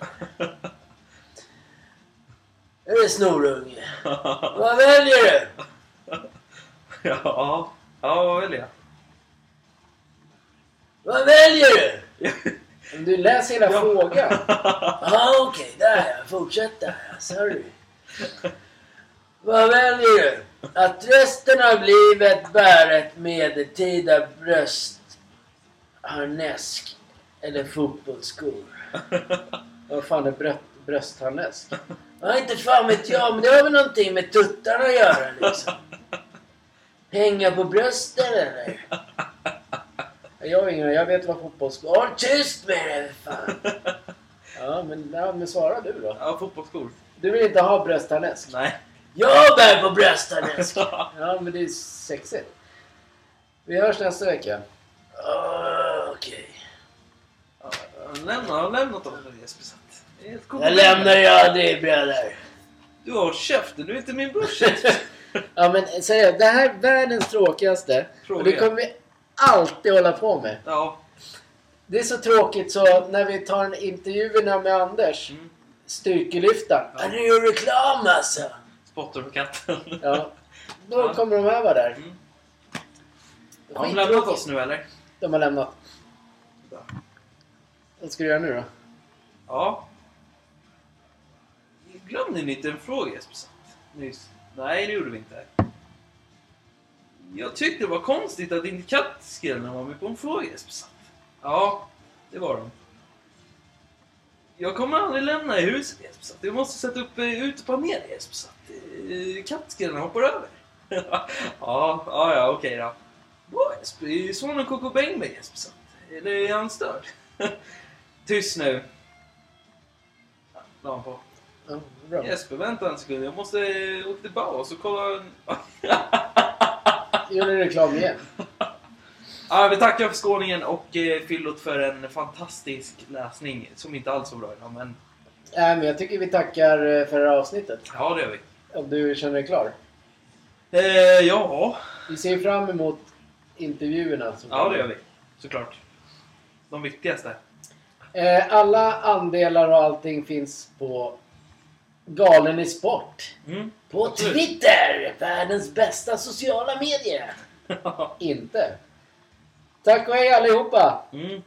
C: Hej snorunge. Vad väljer du?
A: Ja. Ja, vad väljer jag?
C: Vad väljer du?
B: Men Du läser hela
A: Ja.
B: frågan.
C: Ja, okej, där ja. Fortsätt där ja. Sorry. Vad väljer du? Att resten av livet bära ett medeltida bröstharnesk eller fotbollsskor?
B: Vad fan är bröst, bröstharnesk?
C: Ja, inte fan vet jag, men det har väl någonting med tuttarna att göra liksom. Hänga på brösten eller?
B: Jag har ingen jag vet vad fotbollsskor...
C: Håll tyst med dig för fan.
B: Ja, men, ja, men svara du då.
A: Ja, fotbollsskor.
B: Du vill inte ha bröstharnesk?
A: Nej.
C: Jag bär på bröstharnesk.
B: Ja, men det är sexigt. Vi hörs nästa vecka.
C: Ah, Okej.
A: Ja, Lämna, har lämnat oss med Jesper. så att det är ett kort-
C: Jag lämnar dig aldrig bröder.
A: Du har käften, du är inte min brorsa. Jesper.
B: Ja, men seriöst. Det här är världens tråkigaste. Och det
A: Fråga.
B: kommer vi alltid hålla på med.
A: Ja.
B: Det är så tråkigt så när vi tar en intervjuerna med Anders,
A: Mm.
B: styrkelyftaren.
C: Ja, du gör reklam alltså.
A: Spottar på katten.
B: Ja. Då
A: Ja.
B: kommer de här vara där.
A: Mm. Har de lämnat oss nu eller?
B: De har lämnat. Vad ska du göra nu då?
A: Ja. Glömde ni inte en fråga Jesper satt nyss? Nej, det gjorde vi inte. Jag tyckte det var konstigt att inte katt skrev när man var med på en fråga Jesper satt. Ja, det var de. Jag kommer aldrig lämna er huset Jespersatt. Jag måste sätta upp eh, utepanel Jespersatt. Eh, Kattskrällarna hoppar över. ja, ja, ja, okej då. Bra Jesper. Är sonen Coco Bengberg Jespersatt? Eller är han störd? Tyst nu. Ja, La han på.
B: Ja, bra.
A: Jesper, vänta en sekund. Jag måste eh, åka till Bauhaus och kolla...
B: Gjorde reklam igen.
A: Ja, vi tackar för skåningen och eh, Fyllot för en fantastisk läsning som inte alls var bra idag, men
B: Nej, men jag tycker vi tackar eh, för det här avsnittet.
A: ja, det gör vi.
B: Om du känner dig klar.
A: Eh, ja,
B: Vi ser fram emot intervjuerna. Som
A: ja, det gör vi. Såklart. De viktigaste.
B: Eh, Alla andelar och allting finns på Galen i sport.
A: Mm.
C: På
A: Absolut.
C: Twitter! Världens bästa sociala medier!
B: Inte. Tack och hej allihopa!
A: mm.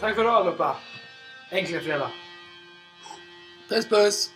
A: Tack för idag allihopa. Äntligen fredag.
B: Puss puss!